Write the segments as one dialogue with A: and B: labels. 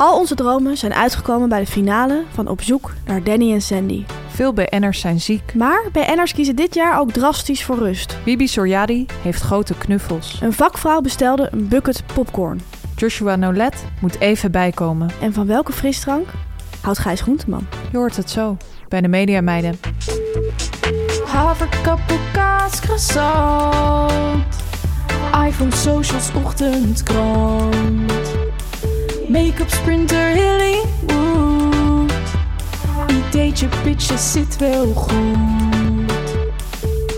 A: Al onze dromen zijn uitgekomen bij de finale van Op zoek naar Danny en Sandy.
B: Veel BN'ers zijn ziek.
A: Maar BN'ers kiezen dit jaar ook drastisch voor rust.
B: Bibi Soryadi heeft grote knuffels.
A: Een vakvrouw bestelde een bucket popcorn.
B: Joshua Nolet moet even bijkomen.
A: En van welke frisdrank houdt Gijs Groenteman?
B: Je hoort het zo bij de Media Meiden.
C: Haverkappelkaas croissant. iPhone socials ochtendkrant. Make-up sprinter Hollywood. Ideetje pitches zit wel goed.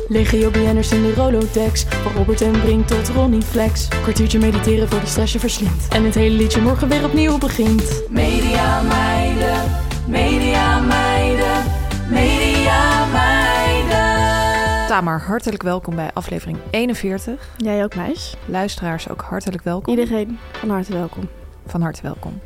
C: Legio BN'ers in de Rolodex. Van Robert en Brink tot Ronnie Flex. Kwartiertje mediteren voor die stress je verslindt. En het hele liedje morgen weer opnieuw begint. Media meiden, media meiden, media meiden.
B: Tamar, hartelijk welkom bij aflevering 41.
A: Jij ook, meis.
B: Luisteraars ook hartelijk welkom.
A: Iedereen van harte welkom.
B: Van harte welkom.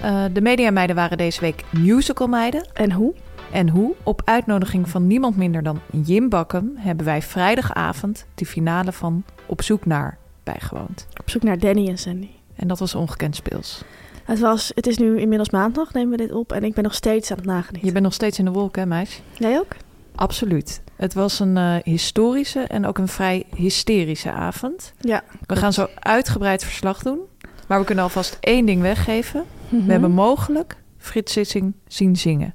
B: Eh, de Media Meiden waren deze week musical meiden.
A: En hoe?
B: En hoe? Op uitnodiging van niemand minder dan Jim Bakkum hebben wij vrijdagavond de finale van Op zoek naar bijgewoond.
A: Op zoek naar Danny en Sandy.
B: En dat was ongekend speels.
A: Het, was, het is nu inmiddels maandag, nemen we dit op. En ik ben nog steeds aan het nagenieten.
B: Je bent nog steeds in de wolk, hè, meisje?
A: Jij ook?
B: Absoluut. Het was een eh, historische en ook een vrij hysterische avond.
A: Ja.
B: We gaan zo uitgebreid verslag doen. Maar we kunnen alvast één ding weggeven.
A: Mhm.
B: We hebben mogelijk Frits Sissing zien zingen.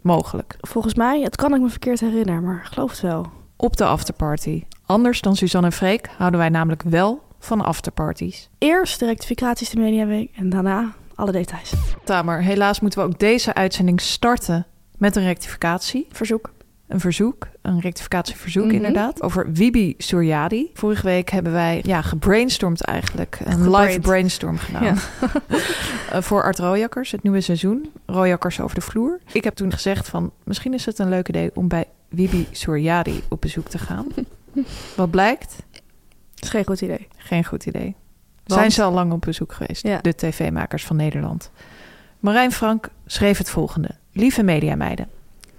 B: Mogelijk.
A: Volgens mij, het kan ik me verkeerd herinneren, maar ik geloof het wel.
B: Op de afterparty. Anders dan Suzanne en Freek houden wij namelijk wel van afterparties.
A: Eerst de rectificaties de Mediaweek en daarna alle details.
B: Tamer, helaas moeten we ook deze uitzending starten met een rectificatie.
A: Verzoek.
B: Een verzoek, een rectificatieverzoek
A: Mhm.
B: inderdaad, over Wibi Suryadi. Vorige week hebben wij ja, gebrainstormd eigenlijk, een live
A: gebrained.
B: brainstorm gedaan.
A: Ja.
B: Eh, voor Art Rooijakkers, het nieuwe seizoen, Rooijakkers over de vloer. Ik heb toen gezegd van, misschien is het een leuk idee om bij Wibi Suryadi op bezoek te gaan. Wat blijkt?
A: Dat is geen goed idee.
B: Geen goed idee.
A: Want-
B: Zijn ze al lang op bezoek geweest,
A: Ja.
B: de tv-makers van Nederland. Marijn Frank schreef het volgende. Lieve mediameiden,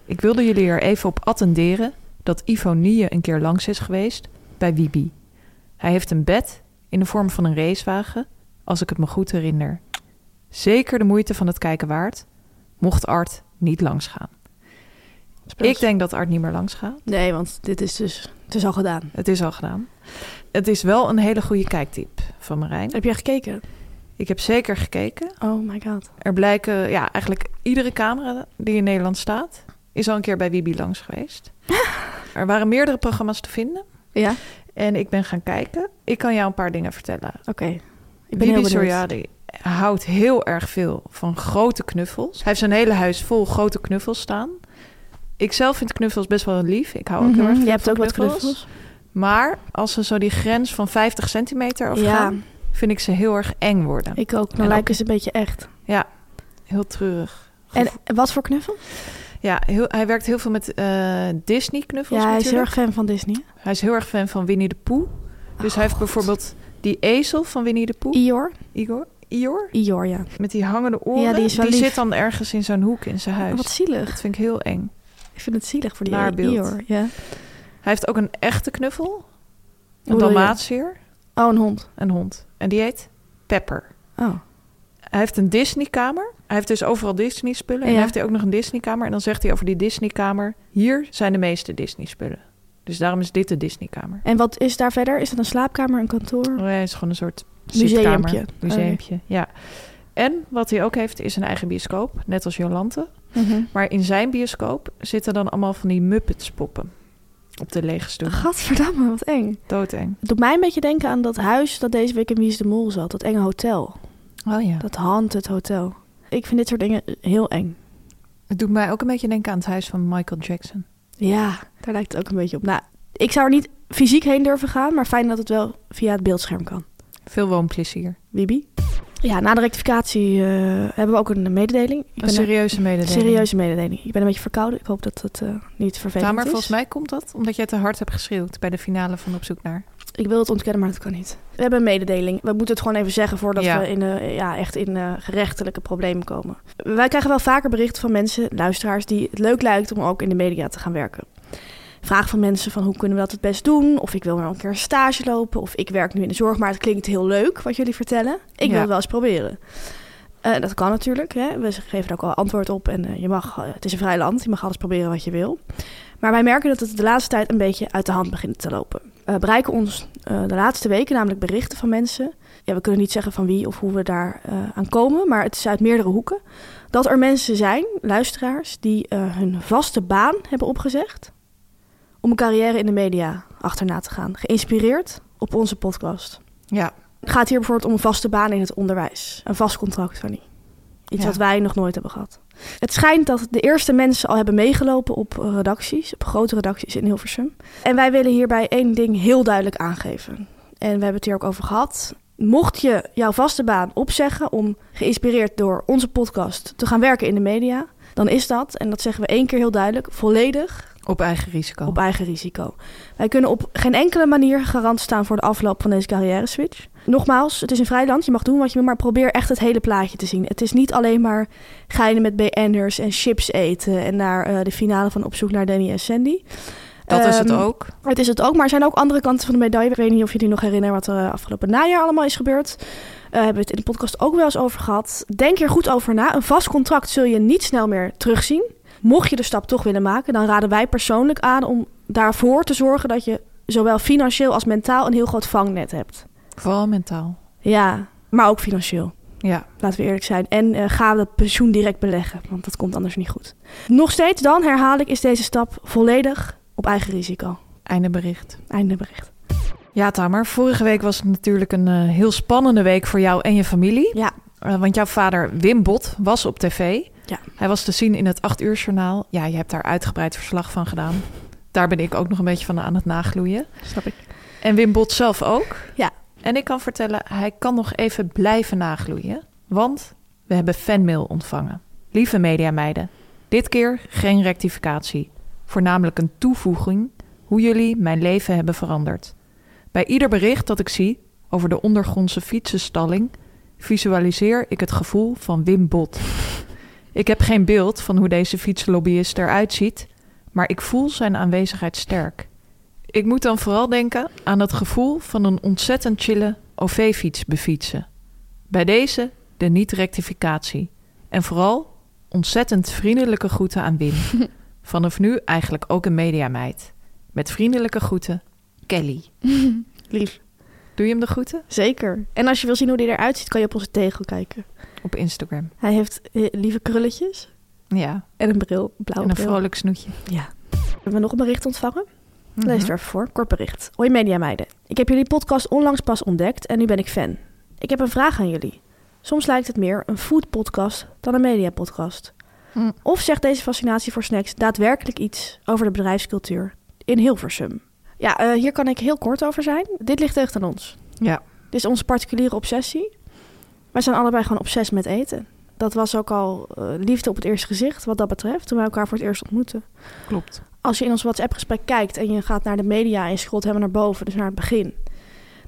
B: ik wilde jullie er even op attenderen... dat Ivo Nieuwe een keer langs is geweest bij Wibi. Hij heeft een bed in de vorm van een racewagen, als ik het me goed herinner. Zeker de moeite van het kijken waard, mocht Art niet langsgaan. Ik denk dat Art niet meer langsgaat.
A: Nee, want dit is dus... Het is al gedaan.
B: Het is al gedaan. Het is wel een hele goede kijktip van Marijn.
A: Heb jij gekeken?
B: Ik heb zeker gekeken.
A: Oh my god.
B: Er blijken, ja, eigenlijk iedere camera die in Nederland staat, is al een keer bij Wibi langs geweest. er waren meerdere programma's te vinden
A: Ja?
B: en ik ben gaan kijken. Ik kan jou een paar dingen vertellen.
A: Oké. Ik ben heel benieuwd. Mhm.
B: Suryadi houdt heel erg veel van grote knuffels. Hij heeft zijn hele huis vol grote knuffels staan. Ik zelf vind knuffels best wel lief. Ik hou ook heel erg
A: Mhm.
B: veel
A: Je hebt
B: van
A: ook wat knuffels.
B: Maar als ze zo die grens van 50 centimeter
A: Ja,
B: overgaan, vind ik ze heel erg eng worden.
A: ik ook.
B: En
A: Dan
B: ook-
A: lijken ze een beetje echt.
B: Ja, heel treurig.
A: En wat voor knuffel?
B: Ja, heel, hij werkt heel veel met eh, Disney-knuffels
A: Ja, hij is heel
B: natuurlijk.
A: erg Oh, fan van Disney.
B: Hij is heel erg fan van Winnie de Pooh. Dus hij heeft bijvoorbeeld die ezel van Winnie de Pooh,
A: Ior?
B: Igor. Ior,
A: Ior, ja.
B: met die hangende oren.
A: Ja, die is wel lief. Oh,
B: zit dan ergens in zo'n hoek in zijn huis.
A: Wat zielig.
B: Dat vind ik heel eng.
A: Ik vind het zielig voor die
B: Naar beeld.
A: Ior. Ja.
B: Hij heeft ook een echte knuffel. Een
A: Hoe bedoel je?
B: Dalmatier,
A: Oh, een hond.
B: een hond. En die heet Pepper.
A: Oh.
B: Hij heeft een Disney-kamer. Hij heeft dus overal Disney-spullen. En
A: Ja.
B: dan heeft hij ook nog een Disney-kamer. En dan zegt hij over die Disney-kamer... hier zijn de meeste Disney-spullen. Dus daarom is dit de Disney-kamer.
A: En wat is daar verder? Is dat een slaapkamer, een kantoor?
B: Oh ja, het is gewoon een soort
A: Museumpje.
B: zitkamer, Museumpje, ja. En wat hij ook heeft, is een eigen bioscoop, net als Jolante.
A: Mhm.
B: Maar in zijn bioscoop zitten dan allemaal van die Muppets-poppen op de lege stoel.
D: Gadverdamme, wat eng.
B: Doodeng.
A: Het doet mij een beetje denken aan dat huis dat deze week in Wie is de Mol zat. Dat enge hotel.
B: Oh ja.
A: Dat Haunted Hotel. Ik vind dit soort dingen heel eng.
B: Het doet mij ook een beetje denken aan het huis van Michael Jackson.
A: Ja, daar lijkt het ook een beetje op. Nou, ik zou er niet fysiek heen durven gaan, maar fijn dat het wel via het beeldscherm kan.
B: Veel woonplezier.
A: Wibi? Ja, na de rectificatie eh, hebben we ook een mededeling. Ik
B: Een
A: ben
B: serieuze
A: een
B: mededeling.
A: serieuze mededeling. Ik ben een beetje verkouden. Ik hoop dat het eh, niet vervelend
B: Ja, maar
A: is.
B: volgens mij komt dat omdat jij te hard hebt geschreeuwd bij de finale van Op Zoek Naar.
A: Ik wil het ontkennen, maar dat kan niet. We hebben een mededeling. We moeten het gewoon even zeggen voordat
B: Ja.
A: we in, eh, ja, echt in eh, gerechtelijke problemen komen. Wij krijgen wel vaker berichten van mensen, luisteraars, die het leuk lijkt om ook in de media te gaan werken. Vraag van mensen van hoe kunnen we dat het best doen? Of ik wil wel een keer een stage lopen. Of ik werk nu in de zorg, maar het klinkt heel leuk wat jullie vertellen. Ik wil
B: Ja.
A: het wel eens proberen. Eh, dat kan natuurlijk. Hè? We geven daar ook al antwoord op. En eh, je mag, eh, het is een vrij land. Je mag alles proberen wat je wil. Maar wij merken dat het de laatste tijd een beetje uit de hand begint te lopen. Eh, bereiken ons eh, de laatste weken namelijk berichten van mensen. Ja, we kunnen niet zeggen van wie of hoe we daar eh, aan komen, maar het is uit meerdere hoeken. Dat er mensen zijn, luisteraars, die eh, hun vaste baan hebben opgezegd om een carrière in de media achterna te gaan. Geïnspireerd op onze podcast.
B: Ja.
A: Het gaat hier bijvoorbeeld om een vaste baan in het onderwijs. Een vast contract, Fanny. Iets
B: Ja.
A: wat wij nog nooit hebben gehad. Het schijnt dat de eerste mensen al hebben meegelopen op eh, redacties, op grote redacties in Hilversum. En wij willen hierbij één ding heel duidelijk aangeven. En we hebben het hier ook over gehad. Mocht je jouw vaste baan opzeggen om geïnspireerd door onze podcast te gaan werken in de media, dan is dat, en dat zeggen we één keer heel duidelijk, volledig
B: Op eigen risico.
A: op eigen risico. Wij kunnen op geen enkele manier garant staan voor de afloop van deze carrière switch. Nogmaals, het is een vrij land, je mag doen wat je wil, maar probeer echt het hele plaatje te zien. Het is niet alleen maar geinen met BN'ers en chips eten en naar eh, de finale van Op zoek naar Danny en Sandy.
B: dat is het
A: Ehm,
B: ook.
A: Het is het ook, maar er zijn ook andere kanten van de medaille. Ik weet niet of jullie nog herinneren wat er eh, afgelopen najaar allemaal is gebeurd. Eh hebben we het in de podcast ook wel eens over gehad. Denk hier goed over na. Een vast contract zul je niet snel meer terugzien. Mocht je de stap toch willen maken, dan raden wij persoonlijk aan om daarvoor te zorgen dat je zowel financieel als mentaal een heel groot vangnet hebt.
B: Vooral mentaal.
A: Ja, maar ook financieel.
B: Ja.
A: Laten we eerlijk zijn. En eh, ga dat pensioen direct beleggen, want dat komt anders niet goed. Nog steeds dan, herhaal ik, is deze stap volledig op eigen risico.
B: Einde bericht.
A: Einde bericht.
B: Ja, Tamer. Vorige week was het natuurlijk een eh, heel spannende week voor jou en je familie.
A: Ja,
B: Eh, want jouw vader Wim Bot was op tv.
A: Ja.
B: Hij was te zien in het 8 uur journaal. Ja, je hebt daar uitgebreid verslag van gedaan. Daar ben ik ook nog een beetje van aan het nagloeien.
A: snap ik.
B: En Wim Bot zelf ook.
A: Ja.
B: En ik kan vertellen, hij kan nog even blijven nagloeien. Want we hebben fanmail ontvangen. Lieve mediameiden, dit keer geen rectificatie. Voornamelijk een toevoeging hoe jullie mijn leven hebben veranderd. Bij ieder bericht dat ik zie over de ondergrondse fietsenstalling... visualiseer ik het gevoel van Wim Bot. Ik heb geen beeld van hoe deze fietslobbyist eruit ziet... maar ik voel zijn aanwezigheid sterk... Ik moet dan vooral denken aan het gevoel van een ontzettend chille OV-fiets befietsen. Bij deze de niet-rectificatie. En vooral ontzettend vriendelijke groeten aan Wim. Vanaf nu eigenlijk ook een mediameid. Met vriendelijke groeten, Kelly.
A: Lief.
B: Doe je hem de groeten?
A: Zeker. En als je wil zien hoe die eruit ziet, kan je op onze tegel kijken.
B: Op Instagram.
A: Hij heeft eh, lieve krulletjes
B: Ja,
A: en een bril, blauwe
B: en een
A: bril.
B: vrolijk snoetje.
A: Ja. Hebben we nog een bericht ontvangen?
B: Mhm.
A: Lees er even voor. Kort bericht. Hoi media meiden. Ik heb jullie podcast onlangs pas ontdekt en nu ben ik fan. Ik heb een vraag aan jullie. Soms lijkt het meer een food podcast dan een media podcast.
B: Mm.
A: Of zegt deze fascinatie voor snacks daadwerkelijk iets over de bedrijfscultuur in Hilversum? Ja, eh, hier kan ik heel kort over zijn. Dit ligt echt aan ons.
B: Ja.
A: Dit is onze particuliere obsessie. Wij zijn allebei gewoon obsessief met eten. Dat was ook al eh, liefde op het eerste gezicht, wat dat betreft, toen wij elkaar voor het eerst ontmoetten.
B: Klopt.
A: Als je in ons WhatsApp-gesprek kijkt en je gaat naar de media en je scrolt helemaal naar boven, dus naar het begin,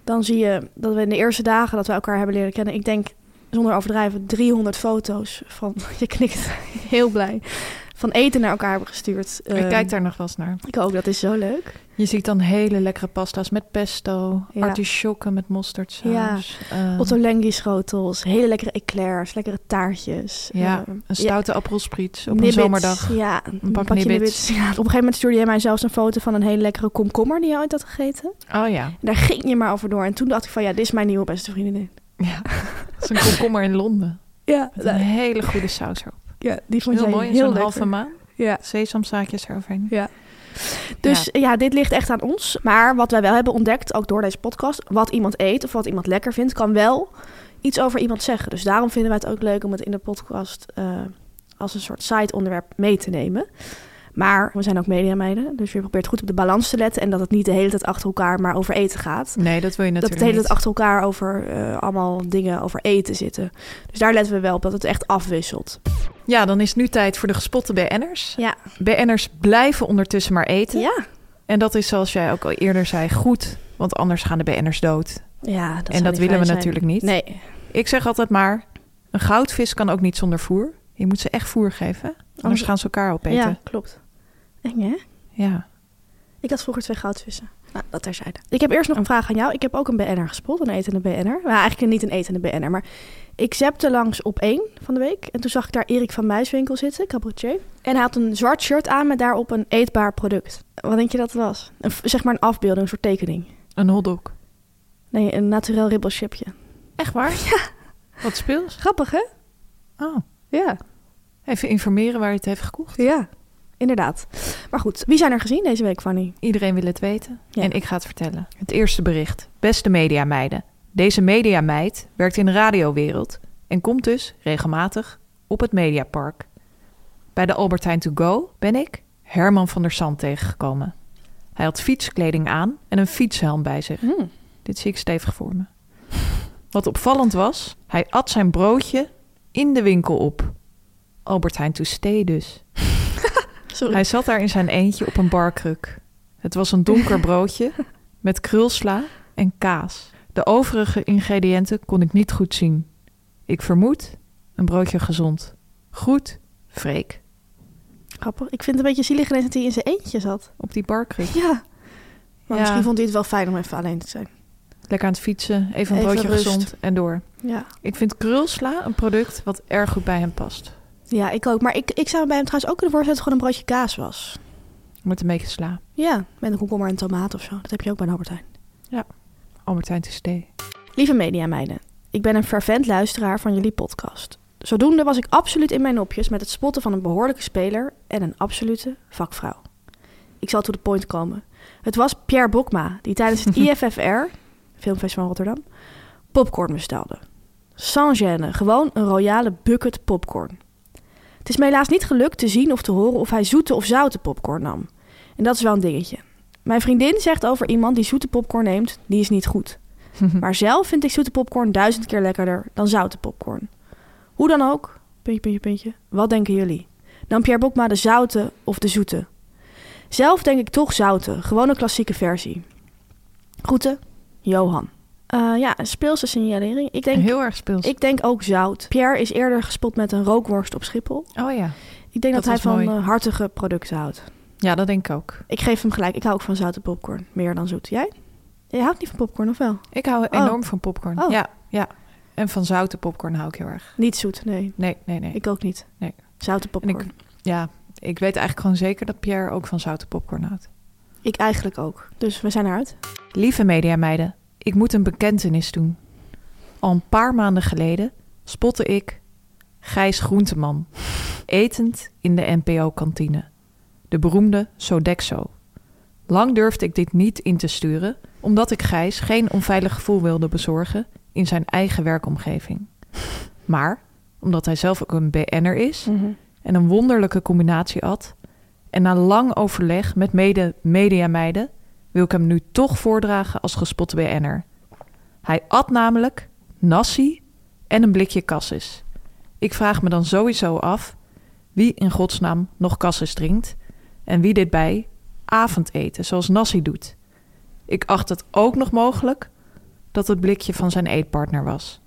A: dan zie je dat we in de eerste dagen dat we elkaar hebben leren kennen, ik denk zonder overdrijven 300 foto's van, je knikt heel blij, van eten naar elkaar hebben gestuurd.
B: ik
A: Ehm,
B: kijk daar nog wel eens naar.
A: Ik ook, dat is zo leuk.
B: Je ziet dan hele lekkere pasta's met pesto,
A: Ja.
B: artisjokken met mosterdsaus. ehm,
A: Ottolenghi schotels, hele lekkere eclairs, lekkere taartjes.
B: Ja,
A: Ehm,
B: een stoute appelspriet op
A: Nibbits,
B: een zomerdag.
A: Ja, een,
B: pak
A: pakje
B: nibbits.
A: nibbits. Ja, op een gegeven moment stuurde jij mij zelfs een foto van een hele lekkere komkommer die je ooit had gegeten.
B: Oh ja.
A: En daar ging je maar over door. En toen dacht ik van ja, dit is mijn nieuwe beste vriendin.
B: ja. Dat is een komkommer in Londen.
A: Ja,
B: Met een
A: nou,
B: hele goede saus erop.
A: ja die vond
B: Heel
A: jij
B: mooi,
A: heel
B: zo'n
A: lekker.
B: halve maan.
A: Ja.
B: Sesamzaadjes eroverheen.
A: Ja. Dus ja. dit ligt echt aan ons. Maar wat wij wel hebben ontdekt, ook door deze podcast, wat iemand eet of wat iemand lekker vindt, kan wel iets over iemand zeggen. Dus daarom vinden wij het ook leuk om het in de podcast eh, als een soort side-onderwerp mee te nemen. Maar we zijn ook mediameiden, dus je probeert goed op de balans te letten en dat het niet de hele tijd achter elkaar maar over eten gaat.
B: Nee, dat wil je natuurlijk
A: dat het de hele tijd
B: niet.
A: achter elkaar over eh, allemaal dingen over eten zitten. Dus daar letten we wel op, dat het echt afwisselt.
B: Ja, dan is het nu tijd voor de gespotte BN'ers.
A: Ja.
B: BN'ers blijven ondertussen maar eten.
A: Ja.
B: En dat is zoals jij ook al eerder zei, goed. Want anders gaan de BN'ers dood.
A: ja dat
B: en
A: zou
B: dat
A: niet
B: willen
A: fijn
B: we
A: zijn.
B: natuurlijk niet.
A: Nee.
B: Ik zeg altijd maar, een goudvis kan ook niet zonder voer. Je moet ze echt voer geven. Anders gaan ze elkaar
A: Oh. Ja,
B: opeten.
A: klopt. Eng hè?
B: Ja.
A: Ik had vroeger twee goudvissen. Nou, dat terzijde. Ik heb eerst nog een vraag aan jou. Ik heb ook een BN'er gespot, een etende BN'er. Nou, eigenlijk niet een etende BN'er, maar ik zepte langs op één van de week. En toen zag ik daar Erik van Muiswinkel zitten, cabaretier. En hij had een zwart shirt aan met daarop een eetbaar product. Wat denk je dat het was? Een, f- zeg maar een afbeelding, een soort tekening.
B: Een hotdog.
A: Nee, een naturel ribbelchipje.
B: Echt waar? Ja. Wat speels?
A: Grappig, hè?
B: Oh.
A: Ja.
B: Even informeren waar je het heeft gekocht.
A: Ja. Inderdaad. Maar goed, wie zijn er gezien deze week, Fanny?
B: Iedereen wil het weten.
A: Ja.
B: En ik ga het vertellen. Het eerste bericht. Beste mediameiden. Deze mediameid werkt in de radiowereld en komt dus regelmatig op het Mediapark. Bij de Albert Heijn To Go ben ik Herman van der Sand tegengekomen. Hij had fietskleding aan en een fietshelm bij zich. Dit zie ik stevig voor me. Wat opvallend was, hij at zijn broodje in de winkel op. Albert Heijn To Stay dus.
A: Sorry.
B: Hij zat daar in zijn eentje op een barkruk. Het was een donker broodje met krulsla en kaas. De overige ingrediënten kon ik niet goed zien. Ik vermoed een broodje gezond. Goed, Freek,
A: Grappig. Ik vind het een beetje zielig ineens dat hij in zijn eentje zat.
B: op die barkruk.
A: Ja. Maar
B: Ja.
A: misschien vond hij het wel fijn om even alleen te zijn.
B: Lekker aan het fietsen, even een
A: Even
B: broodje
A: rust.
B: gezond en door.
A: Ja.
B: Ik vind krulsla een product wat erg goed bij hem past.
A: Ja, ik ook. Maar ik, ik zou bij hem trouwens ook kunnen voorstellen dat het gewoon een broodje kaas was.
B: Met een beetje sla.
A: Ja, met een komkommer en tomaat of zo. Dat heb je ook bij een Albert Heijn.
B: Albert Heijn te stee.
A: Lieve mediameiden, ik ben een fervent luisteraar van jullie podcast. Zodoende was ik absoluut in mijn nopjes met het spotten van een behoorlijke speler en een absolute vakvrouw. Ik zal to the point komen. Het was Pierre Bokma die tijdens het IFFR, Filmfestival Rotterdam, popcorn bestelde. Sans gêne, gewoon een royale bucket popcorn. Het is me helaas niet gelukt te zien of te horen of hij zoete of zoute popcorn nam. En dat is wel een dingetje. Mijn vriendin zegt over iemand die zoete popcorn neemt, die is niet goed. Maar zelf vind ik zoete popcorn duizend keer lekkerder dan zoute popcorn. Hoe dan ook, puntje, puntje, puntje. Wat denken jullie? Nam Pierre Bokma de zoute of de zoete? Zelf denk ik toch zoute, gewoon een klassieke versie. Groeten, Johan. Eh, ja, een speelse signalering. Ik denk,
B: Heel erg speels.
A: ik denk ook zout. Pierre is eerder gespot met een rookworst op Schiphol.
B: Oh ja.
A: Ik denk dat,
B: Dat
A: hij
B: was
A: van
B: mooi.
A: eh, hartige producten houdt.
B: Ja, dat denk ik ook.
A: Ik geef hem gelijk. Ik hou ook van zoute popcorn. Meer dan zoet. Jij? Je houdt niet van popcorn, of wel?
B: Ik hou
A: Oh.
B: enorm van popcorn.
A: Oh.
B: Ja, ja. En van zoute popcorn hou ik heel erg.
A: Niet zoet, nee.
B: Nee, nee, nee.
A: Ik ook niet.
B: Nee.
A: Zoute
B: En
A: popcorn.
B: ik, ja, ik weet eigenlijk gewoon zeker dat Pierre ook van zoute popcorn houdt.
A: Ik eigenlijk ook. Dus we zijn eruit.
B: Lieve mediameiden, ik moet een bekentenis doen. Al een paar maanden geleden spotte ik Gijs Groenteman etend in de NPO-kantine. De beroemde Sodexo. Lang durfde ik dit niet in te sturen, omdat ik Gijs geen onveilig gevoel wilde bezorgen in zijn eigen werkomgeving. Maar omdat hij zelf ook een BN'er is en een wonderlijke combinatie had, en na lang overleg met mede mediameiden wil ik hem nu toch voordragen als gespotte BN'er. Hij at namelijk nasi en een blikje cassis. Ik vraag me dan sowieso af wie in godsnaam nog cassis drinkt en wie dit bij avondeten zoals nasi doet. Ik acht het ook nog mogelijk dat het blikje van zijn eetpartner was.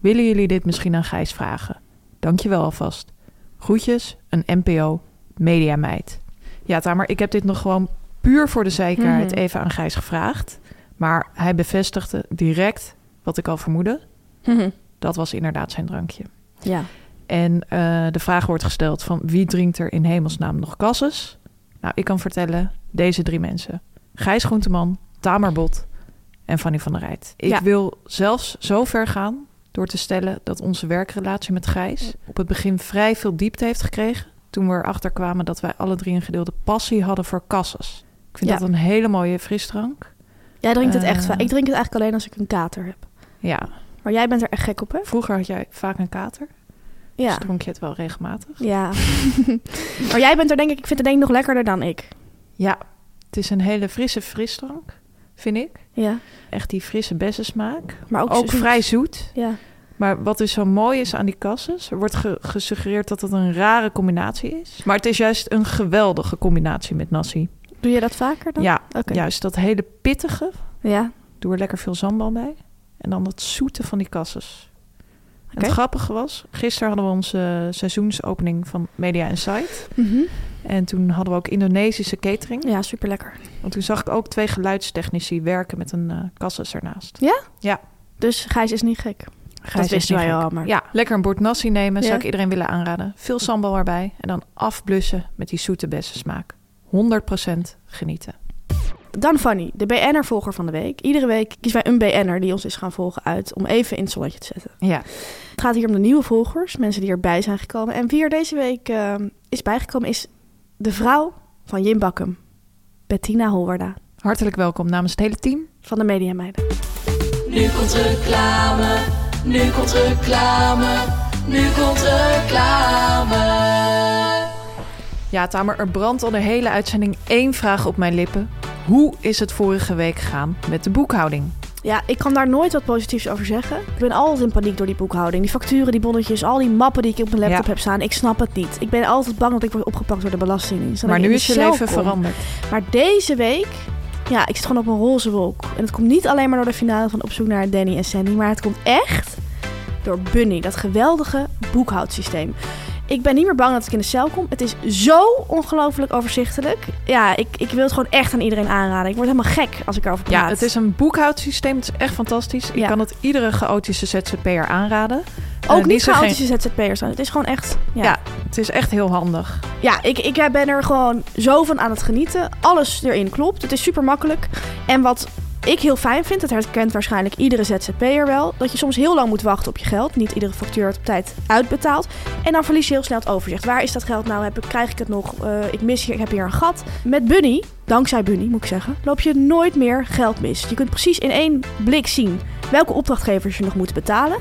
B: Willen jullie dit misschien aan Gijs vragen? Dankjewel alvast. Groetjes, een NPO Mediameid. Ja, Tamer, ik heb dit nog gewoon puur voor de zekerheid even aan Gijs gevraagd. Maar hij bevestigde direct wat ik al vermoedde. Dat was inderdaad zijn drankje.
A: Ja.
B: En eh, de vraag wordt gesteld van wie drinkt er in hemelsnaam nog kasses? Nou, ik kan vertellen deze drie mensen. Gijs Groenteman, Tamer Bot en Fanny van der Rijt. Ik
A: Ja.
B: wil zelfs zo ver gaan door te stellen dat onze werkrelatie met Gijs op het begin vrij veel diepte heeft gekregen. Toen we erachter kwamen dat wij alle drie een gedeelde passie hadden voor kassas. Ik vind
A: Ja.
B: dat een hele mooie frisdrank.
A: Jij drinkt het echt
B: Eh.
A: vaak. Ik drink het eigenlijk alleen als ik een kater heb.
B: Ja,
A: Maar jij bent er echt gek op, hè?
B: vroeger had jij vaak een kater. Dus
A: Ja.
B: dronk je het wel regelmatig.
A: Ja. maar jij bent er denk ik, ik vind het denk ik nog lekkerder dan ik.
B: Ja, het is een hele frisse frisdrank, vind ik.
A: Ja.
B: Echt die frisse bessensmaak.
A: Maar ook,
B: Ook
A: zoet.
B: vrij zoet.
A: Ja.
B: Maar wat dus zo mooi is aan die kassas, er wordt ge- gesuggereerd dat het een rare combinatie is. Maar het is juist een geweldige combinatie met nasi.
A: Doe je dat vaker dan?
B: Ja,
A: Oh, Oké.
B: juist dat hele pittige,
A: Ja.
B: doe er lekker veel sambal bij. En dan dat zoete van die kassas. En
A: Oké.
B: het grappige was, gisteren hadden we onze seizoensopening van Media Insight.
A: Mhm.
B: En toen hadden we ook Indonesische catering.
A: Ja, super lekker.
B: Want toen zag ik ook twee geluidstechnici werken met een eh kassas ernaast.
A: Dus Gijs is niet gek.
B: Gijs is
A: wisten
B: niet
A: wij
B: gek.
A: al, maar-
B: Ja, lekker een bord nasi nemen, zou
A: Ja.
B: ik iedereen willen aanraden. Veel sambal erbij en dan afblussen met die zoete bessensmaak. 100% genieten.
A: Dan Fanny, de BN'er-volger van de week. Iedere week kiezen wij een BN'er die ons is gaan volgen uit om even in het zonnetje te zetten.
B: Ja.
A: Het gaat hier om de nieuwe volgers, mensen die erbij zijn gekomen. En wie er deze week eh, is bijgekomen is de vrouw van Jim Bakkum, Bettina Holwerda
B: Hartelijk welkom namens het hele team.
A: van de Media Meiden.
C: Nu komt reclame, nu komt reclame, nu komt reclame.
B: Ja, Tamer, er brandt al de hele uitzending één vraag op mijn lippen. Hoe is het vorige week gegaan met de boekhouding?
A: Ja, ik kan daar nooit wat positiefs over zeggen. Ik ben altijd in paniek door die boekhouding. Die facturen, die bonnetjes, al die mappen die ik op mijn laptop
B: Ja.
A: heb staan. Ik snap het niet. Ik ben altijd bang dat ik word opgepakt door de Belastingdienst. en dat
B: maar
A: ik
B: nu
A: in
B: is je
A: de cel
B: leven
A: kom.
B: veranderd.
A: Maar deze week, ja, ik zit gewoon op een roze wolk. En het komt niet alleen maar door de finale van Op zoek naar Danny en Sandy, maar het komt echt door Bunny, dat geweldige boekhoudsysteem. Ik ben niet meer bang dat ik in de cel kom. Het is zo ongelooflijk overzichtelijk. Ja, ik, ik wil het gewoon echt aan iedereen aanraden. Ik word helemaal gek als ik erover praat.
B: Ja, het is een boekhoudsysteem. Het is echt fantastisch. Ik
A: Ja.
B: kan het iedere chaotische ZZP'er aanraden. Eh,
A: ook
B: die
A: niet
B: is er geen-
A: chaotische ZZP'ers. zijn. Het is gewoon echt... Ja, ja.
B: Ja, het is echt heel handig.
A: ik, ik ben er gewoon zo van aan het genieten. Alles erin klopt. Het is super makkelijk. En wat ik heel fijn vind, dat herkent waarschijnlijk iedere ZZP'er wel, dat je soms heel lang moet wachten op je geld. Niet iedere factuur wordt op tijd uitbetaald. En dan verlies je heel snel het overzicht. Waar is dat geld nou? Heb ik, krijg ik het nog? Eh, ik mis hier, ik heb hier een gat. Met Bunny, dankzij Bunny moet ik zeggen, loop je nooit meer geld mis. Je kunt precies in één blik zien welke opdrachtgevers je nog moet betalen.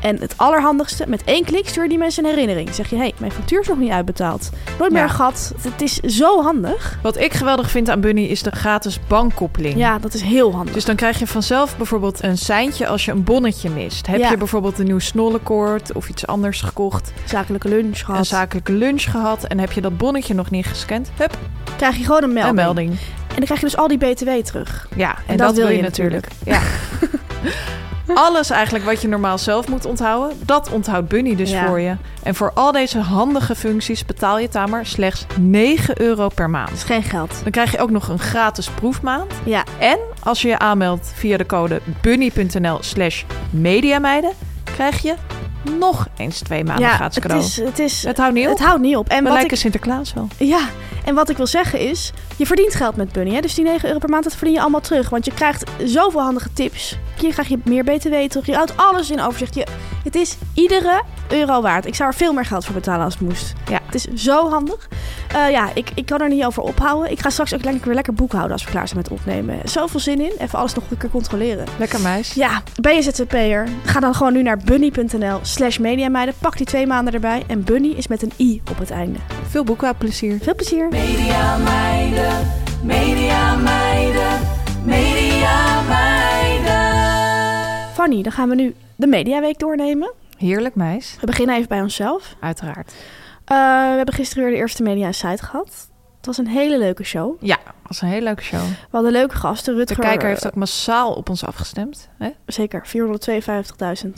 A: En het allerhandigste, met één klik stuur je die mensen een herinnering. Zeg je, hé, hey, mijn factuur is nog niet uitbetaald. Nooit meer
B: Ja.
A: een gat. Het is zo handig.
B: Wat ik geweldig vind aan Bunny is de gratis bankkoppeling.
A: Ja, dat is heel handig.
B: Dus dan krijg je vanzelf bijvoorbeeld een seintje als je een bonnetje mist. Heb
A: Ja.
B: je bijvoorbeeld een nieuw snollenkoord of iets anders gekocht,
A: Zakelijke lunch gehad.
B: een zakelijke lunch gehad en heb je dat bonnetje nog niet gescand? Hup,
A: krijg je gewoon een melding.
B: een melding.
A: En dan krijg je dus al die BTW terug.
B: Ja, en, dat, wil je natuurlijk. Ja. Alles eigenlijk wat je normaal zelf moet onthouden, dat onthoudt Bunny dus
A: Ja.
B: voor je. En voor al deze handige functies betaal je Tamer slechts 9 euro per maand.
A: Dat is geen geld.
B: Dan krijg je ook nog een gratis proefmaand.
A: Ja,
B: En als je je aanmeldt via de code bunny.nl slash mediameiden, krijg je nog eens twee maanden
A: ja
B: gratis
A: het,
B: cadeau.
A: is, het, is,
B: het houdt niet op.
A: het houdt niet op. En
B: We
A: wat,
B: lijken
A: ik,
B: Sinterklaas wel.
A: ja, en wat ik wil zeggen is, je verdient geld met Bunny. Hè? Dus die 9 euro per maand, dat verdien je allemaal terug. Want je krijgt zoveel handige tips. Hier krijg je meer BTW terug. Je houdt alles in overzicht. Je, het is iedere euro waard. Ik zou er veel meer geld voor betalen als het moest.
B: Ja.
A: Het is zo handig. Eh, ja, ik, ik kan er niet over ophouden. Ik ga straks ook lekker, weer lekker boekhouden als we klaar zijn met opnemen. Zoveel zin in. Even alles nog een keer controleren.
B: Lekker meis.
A: Ja, ben je ZZP'er? Ga dan gewoon nu naar bunny.nl slash mediameiden. Pak die twee maanden erbij. En bunny is met een i op het einde.
B: Veel boekhoudplezier.
A: Veel plezier.
C: Media meiden, media meiden, media meiden.
A: Fanny, dan gaan we nu de Mediaweek doornemen.
B: Heerlijk meis,
A: We beginnen even bij onszelf.
B: uiteraard.
A: Eh, we hebben gisteren weer de eerste Media Site gehad. Het was een hele leuke show.
B: Ja, was een hele leuke show.
A: We hadden leuke gasten.
B: De
A: Rutger, eh,
B: kijker heeft ook massaal op ons afgestemd. Hè?
A: Dus- zeker, 452.000.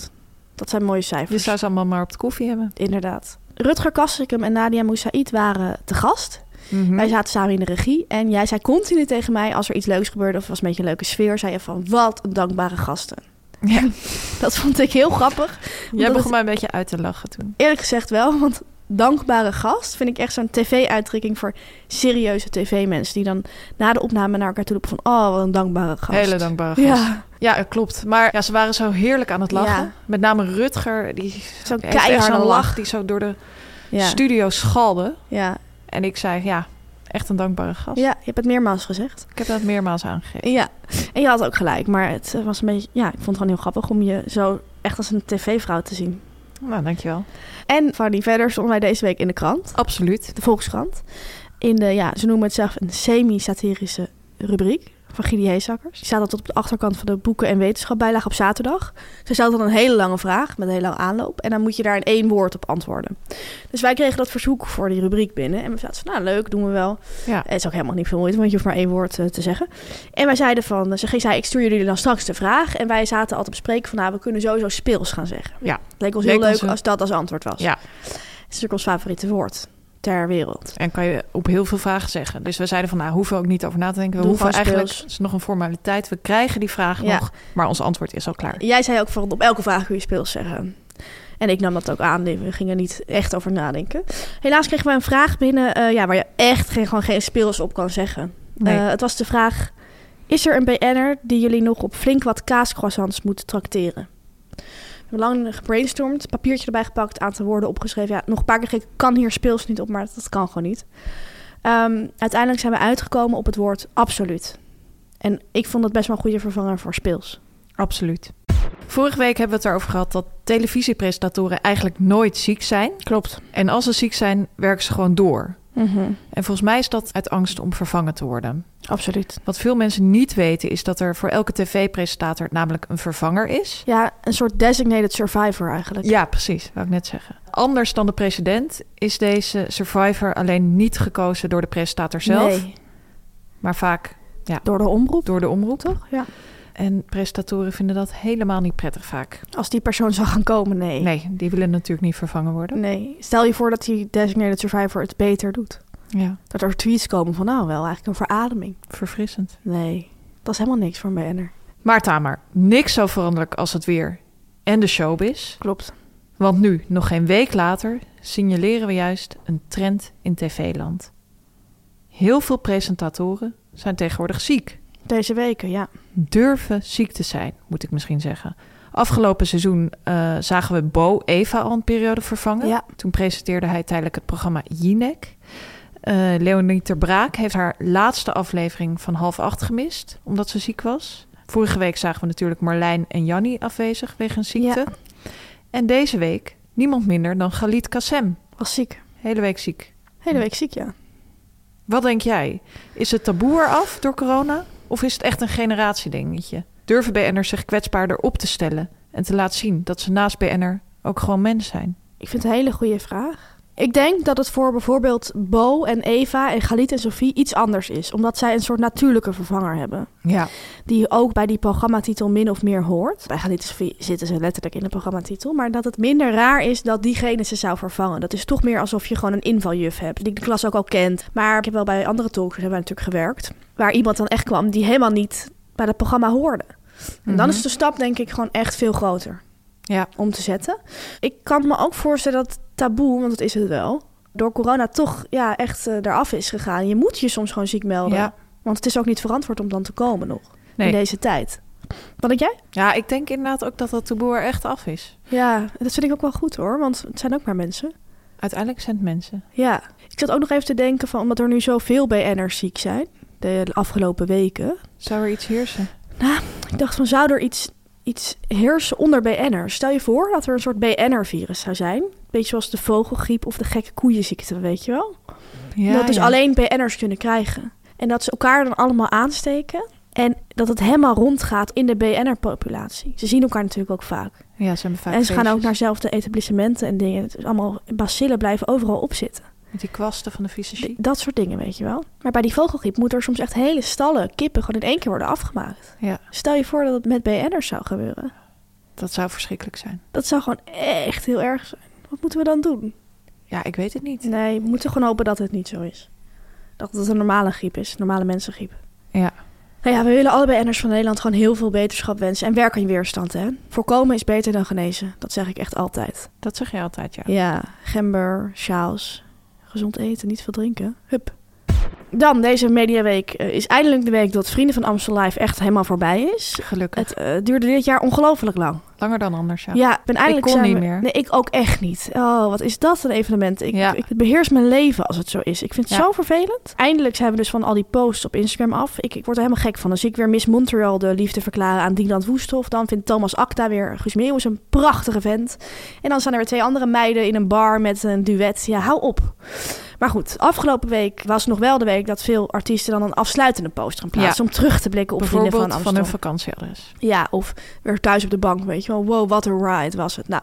A: Dat zijn mooie
B: Je
A: cijfers.
B: Dus zou ze allemaal maar op de koffie hebben.
A: Inderdaad. Rutger Kassikum en Nadia Moussaïd waren te gast.
B: Hm?
A: Wij zaten samen in de regie en jij zei continu tegen mij als er iets leuks gebeurde of was een beetje een leuke sfeer, zei je van wat een dankbare gasten.
B: Ja.
A: Dat vond ik heel grappig.
B: Jij
A: Omdat
B: begon mij een beetje uit te lachen toen.
A: het- eerlijk gezegd wel, want dankbare gast vind ik echt zo'n tv-uitdrukking voor serieuze tv-mensen. Die dan na de opname naar elkaar toe lopen van... Oh, wat een dankbare gast.
B: Hele dankbare gast. Ja.
A: Ja,
B: Ja, eh, klopt. Maar ja, ze waren zo heerlijk aan het lachen.
A: Ja.
B: Met name Rutger, die
A: zo'n
B: heeft echt
A: keiharde
B: zo'n lach
A: lach.
B: die zo door de
A: Ja,
B: studio schalde.
A: ja.
B: En ik zei, ja, echt een dankbare gast.
A: ja, je hebt het meermaals gezegd.
B: Ik heb dat meermaals aangegeven.
A: Ja, en je had ook gelijk. Maar het eh, was een beetje... Ja, ik vond het gewoon heel grappig om je zo echt als een tv-vrouw te zien.
B: Nou, dankjewel.
A: En Fanny, verder stonden wij deze week in de krant.
B: Absoluut.
A: De Volkskrant. In de, ja, ze noemen het zelf een semi-satirische rubriek van Gidi Heesakkers. Die staat dan tot op de achterkant van de boeken- en wetenschapbijlage op zaterdag. Ze stelt dan een hele lange vraag met een hele lange aanloop. En dan moet je daar in één woord op antwoorden. Dus wij kregen dat verzoek voor die rubriek binnen. En we zaten van, nou leuk, doen we wel.
B: Ja.
A: Het is ook helemaal niet veel moeite, want je hoeft maar één woord eh, te zeggen. En wij zeiden van, ze ging zei, ik stuur jullie dan straks de vraag. En wij zaten altijd bespreken van, nou, we kunnen sowieso speels gaan zeggen.
B: Ja.
A: Het leek ons
B: Leek
A: heel leuk
B: ons een-
A: als dat als antwoord was.
B: Ja.
A: Het is natuurlijk ons favoriete woord ter wereld.
B: En kan je op heel veel vragen zeggen. Dus we zeiden van, nou, hoeven we ook niet over na te denken.
A: Doe
B: We hoeven
A: gewoon
B: eigenlijk,
A: speels.
B: het is nog een formaliteit. We krijgen die vraag
A: Ja.
B: nog, maar ons antwoord is al klaar.
A: Jij zei ook van op elke vraag kun je speels zeggen. En ik nam dat ook aan. We gingen er niet echt over nadenken. Helaas kregen we een vraag binnen eh, ja, waar je echt geen, gewoon geen speels op kan zeggen.
B: Nee.
A: Eh, het was de vraag: Is er een BN'er die jullie nog op flink wat kaascroissants moet trakteren? We hebben lang gebrainstormd, papiertje erbij gepakt, aantal woorden opgeschreven. Ja, nog een paar keer gekeken, kan hier speels niet op, maar dat, dat kan gewoon niet. Ehm, uiteindelijk zijn we uitgekomen op het woord absoluut. En ik vond dat best wel een goede vervanger voor speels.
B: Absoluut. Vorige week hebben we het erover gehad dat televisiepresentatoren eigenlijk nooit ziek zijn.
A: Klopt.
B: En als ze ziek zijn, werken ze gewoon door.
A: Mhm.
B: En volgens mij is dat uit angst om vervangen te worden.
A: Absoluut.
B: Wat veel mensen niet weten is dat er voor elke tv-presentator namelijk een vervanger is.
A: Ja, een soort designated survivor eigenlijk.
B: Ja, precies, wou ik net zeggen. Anders dan de president is deze survivor alleen niet gekozen door de presentator zelf,
A: Nee,
B: maar vaak
A: door de omroep.
B: door de omroep, toch?
A: Ja.
B: En presentatoren vinden dat helemaal niet prettig vaak.
A: Als die persoon zou gaan komen, nee.
B: Nee, die willen natuurlijk niet vervangen worden.
A: Nee. Stel je voor dat die designated survivor het beter doet.
B: Ja,
A: Dat er tweets komen van nou wel, eigenlijk een verademing.
B: verfrissend.
A: Nee, dat is helemaal niks voor een BN'er.
B: Maar Tamer, niks zo veranderlijk als het weer en de showbiz.
A: Klopt.
B: Want nu, nog geen week later, signaleren we juist een trend in tv-land. Heel veel presentatoren zijn tegenwoordig ziek.
A: Deze weken, ja.
B: Durven ziek te zijn, moet ik misschien zeggen. Afgelopen seizoen eh, zagen we Bo Eva al een periode vervangen.
A: Ja.
B: Toen presenteerde hij tijdelijk het programma Jinek. Eh Leonie Ter Braak heeft haar laatste aflevering van half acht gemist, omdat ze ziek was. Vorige week zagen we natuurlijk Marlijn en Janni afwezig wegens ziekte. En deze week niemand minder dan Galit Kassem.
A: Was ziek.
B: Hele week ziek.
A: Hele week ziek, ja.
B: Wat denk jij? Is het taboe eraf door corona? Of is het echt een generatiedingetje? Durven BN'ers zich kwetsbaarder op te stellen en te laten zien dat ze naast BN'er ook gewoon mens zijn?
A: Ik vind het een hele goede vraag. Ik denk dat het voor bijvoorbeeld Bo en Eva en Galit en Sophie iets anders is. Omdat zij een soort natuurlijke vervanger hebben.
B: Ja.
A: die ook bij die programmatitel min of meer hoort. Bij Galit en Sofie zitten ze letterlijk in de programmatitel. Maar dat het minder raar is dat diegene ze zou vervangen. Dat is toch meer alsof je gewoon een invaljuf hebt. Die de klas ook al kent. Maar ik heb wel bij andere talkers hebben wij natuurlijk gewerkt. Waar iemand dan echt kwam die helemaal niet bij dat programma hoorde. En dan is de stap denk ik gewoon echt veel groter
B: Ja.
A: om te zetten. Ik kan me ook voorstellen dat taboe, want dat is het wel... door corona toch ja, echt eh, eraf is gegaan. Je moet je soms gewoon ziek melden.
B: Ja.
A: Want het is ook niet verantwoord om dan te komen nog
B: Nee.
A: in deze tijd. Wat denk jij?
B: ja, ik denk inderdaad ook dat dat taboe er echt af is.
A: Ja, dat vind ik ook wel goed hoor, want het zijn ook maar mensen.
B: Uiteindelijk zijn het mensen.
A: Ja, ik zat ook nog even te denken van, omdat er nu zoveel BN'ers ziek zijn, de afgelopen weken.
B: Zou er iets heersen?
A: Nou, Ik dacht van, zou er iets, iets heersen onder BN'ers? Stel je voor dat er een soort BN'er-virus zou zijn. Beetje zoals de vogelgriep of de gekke koeienziekte, weet je wel?
B: Ja,
A: dat dus
B: ja.
A: alleen BN'ers kunnen krijgen. En dat ze elkaar dan allemaal aansteken. En dat het helemaal rondgaat in de BN'er-populatie. Ze zien elkaar natuurlijk ook vaak.
B: Ja, ze hebben vaak
A: en ze gaan ook
B: feestjes
A: naar zelfde etablissementen en dingen. Het is allemaal bacillen blijven overal op zitten.
B: Met die kwasten van de vieze chic.
A: Dat soort dingen, weet je wel. Maar bij die vogelgriep moeten er soms echt hele stallen kippen gewoon in één keer worden afgemaakt.
B: Ja,
A: Stel je voor dat het met BN'ers zou gebeuren.
B: dat zou verschrikkelijk zijn.
A: Dat zou gewoon echt heel erg zijn. Wat moeten we dan doen?
B: Ja, ik weet het niet.
A: Nee, we moeten gewoon hopen dat het niet zo is. Dat het een normale griep is, een normale mensengriep.
B: Ja.
A: Nou ja, we willen allebei enners van Nederland gewoon heel veel beterschap wensen. En werk aan je weerstand, hè. Voorkomen is beter dan genezen. Dat zeg ik echt altijd.
B: Dat zeg je altijd, ja.
A: Ja, gember, sjaals, gezond eten, niet veel drinken. Hup. Dan, deze mediaweek eh, is eindelijk de week dat Vrienden van Amstel Live echt helemaal voorbij is.
B: Gelukkig.
A: Het eh, duurde dit jaar ongelooflijk lang.
B: Langer dan anders, ja.
A: Ja, ik ben eindelijk
B: Ik kon
A: zijn
B: niet
A: we-
B: meer.
A: Nee, ik ook echt niet. Oh, wat is dat een evenement? Ik,
B: Ja.
A: ik het beheerst mijn leven als het zo is. Ik vind het
B: Ja.
A: zo vervelend. Eindelijk zijn we dus van al die posts op Instagram af. Ik, ik word er helemaal gek van. Dan zie ik weer Miss Montreal de liefde verklaren aan Dieland Woesthof. Dan vindt Thomas Acta weer Guus Meeuwis een prachtige vent. En dan staan er weer twee andere meiden in een bar met een duet. Ja, hou op. Maar goed, afgelopen week was nog wel de week dat veel artiesten dan een afsluitende post gaan plaatsen. Om terug te blikken op vrienden van
B: Bijvoorbeeld
A: Amsterdam.
B: van, hun vakantieadres.
A: Ja, of weer thuis op de bank, weet je wel. Wow, wat een ride was het. Nou,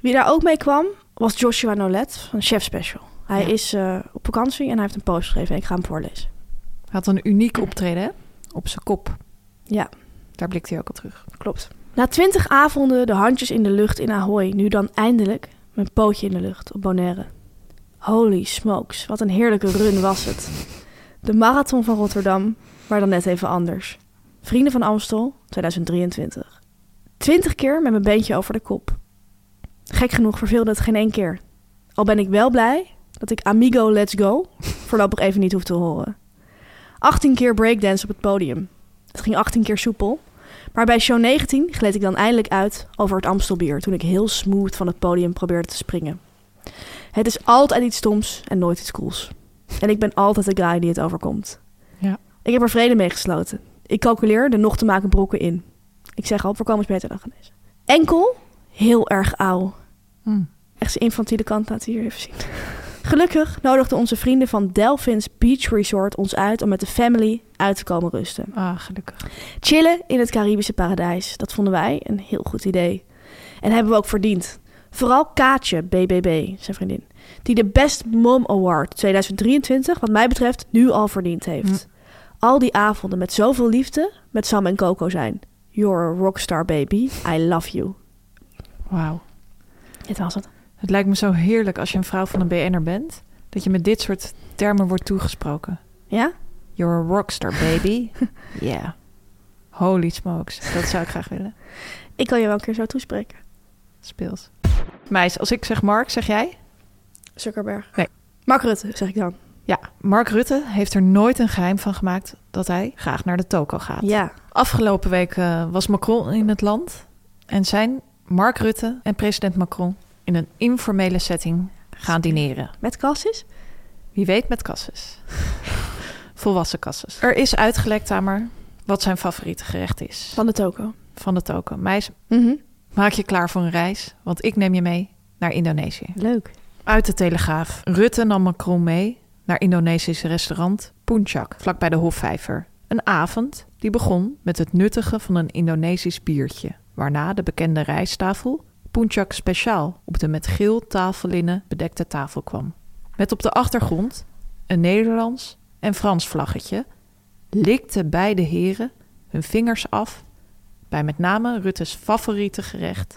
A: wie daar ook mee kwam, was Joshua Nolet van Chef Special. Hij
B: Ja.
A: is eh, op vakantie en hij heeft een post geschreven en ik ga hem voorlezen.
B: Hij had een uniek optreden, hè? Op zijn kop.
A: Ja,
B: Daar blikt hij ook op terug.
A: klopt. Na twintig avonden de handjes in de lucht in Ahoy, nu dan eindelijk mijn pootje in de lucht op Bonaire. Holy smokes, wat een heerlijke run was het. De marathon van Rotterdam, maar dan net even anders. Vrienden van Amstel, 2023. Twintig keer met mijn beentje over de kop. Gek genoeg verveelde het geen één keer. Al ben ik wel blij dat ik Amigo Let's Go voorlopig even niet hoef te horen. 18 keer breakdance op het podium. Het ging 18 keer soepel. Maar bij show 19 gleed ik dan eindelijk uit over het Amstelbier toen ik heel smooth van het podium probeerde te springen. Het is altijd iets stoms en nooit iets cools. En ik ben altijd de guy die het overkomt.
B: Ja.
A: Ik heb er vrede mee gesloten. Ik calculeer de nog te maken brokken in. Ik zeg al, voorkomen is beter dan genezen. Enkel, heel erg auw.
B: Hmm.
A: Echt zijn infantiele kant laat hij hier even zien. Gelukkig nodigden onze vrienden van Delphins Beach Resort ons uit om met de family uit te komen rusten.
B: Ah, gelukkig.
A: Chillen in het Caribische paradijs, dat vonden wij een heel goed idee. En hebben we ook verdiend. Vooral Kaatje, BBB, zijn vriendin, die de Best Mom Award 2023, wat mij betreft, nu al verdiend heeft. Al die avonden met zoveel liefde met Sam en Coco zijn. You're a rockstar baby, I love you.
B: Wauw.
A: Dit was het.
B: Het lijkt me zo heerlijk als je een vrouw van een BN'er bent... dat je met dit soort termen wordt toegesproken.
A: Ja?
B: You're a rockstar, baby. yeah. Holy smokes. Dat zou ik graag willen.
A: Ik kan je wel een keer zo toespreken.
B: Speels. Meis, als ik zeg Mark, zeg jij?
A: Zuckerberg.
B: Nee.
A: Mark Rutte, zeg ik dan.
B: Ja, Mark Rutte heeft er nooit een geheim van gemaakt... dat hij graag naar de toko gaat.
A: Ja.
B: Afgelopen week eh, was Macron in het land en zijn Mark Rutte en president Macron in een informele setting gaan dineren.
A: Met Cassis?
B: Wie weet met kasses. Volwassen kasses. Er is uitgelekt aan maar wat zijn favoriete gerecht is
A: Van de toko.
B: van de token. Meis,
A: Mhm.
B: maak je klaar voor een reis, want ik neem je mee naar Indonesië.
A: Leuk.
B: Uit de Telegraaf. Rutte nam Macron mee naar Indonesisch restaurant Puncak, vlakbij de Hofvijver. Een avond die begon met het nuttigen van een Indonesisch biertje. Waarna de bekende rijsttafel Puncak speciaal op de met geel tafellinnen bedekte tafel kwam. Met op de achtergrond een Nederlands en Frans vlaggetje likten beide heren hun vingers af bij met name Rutte's favoriete gerecht,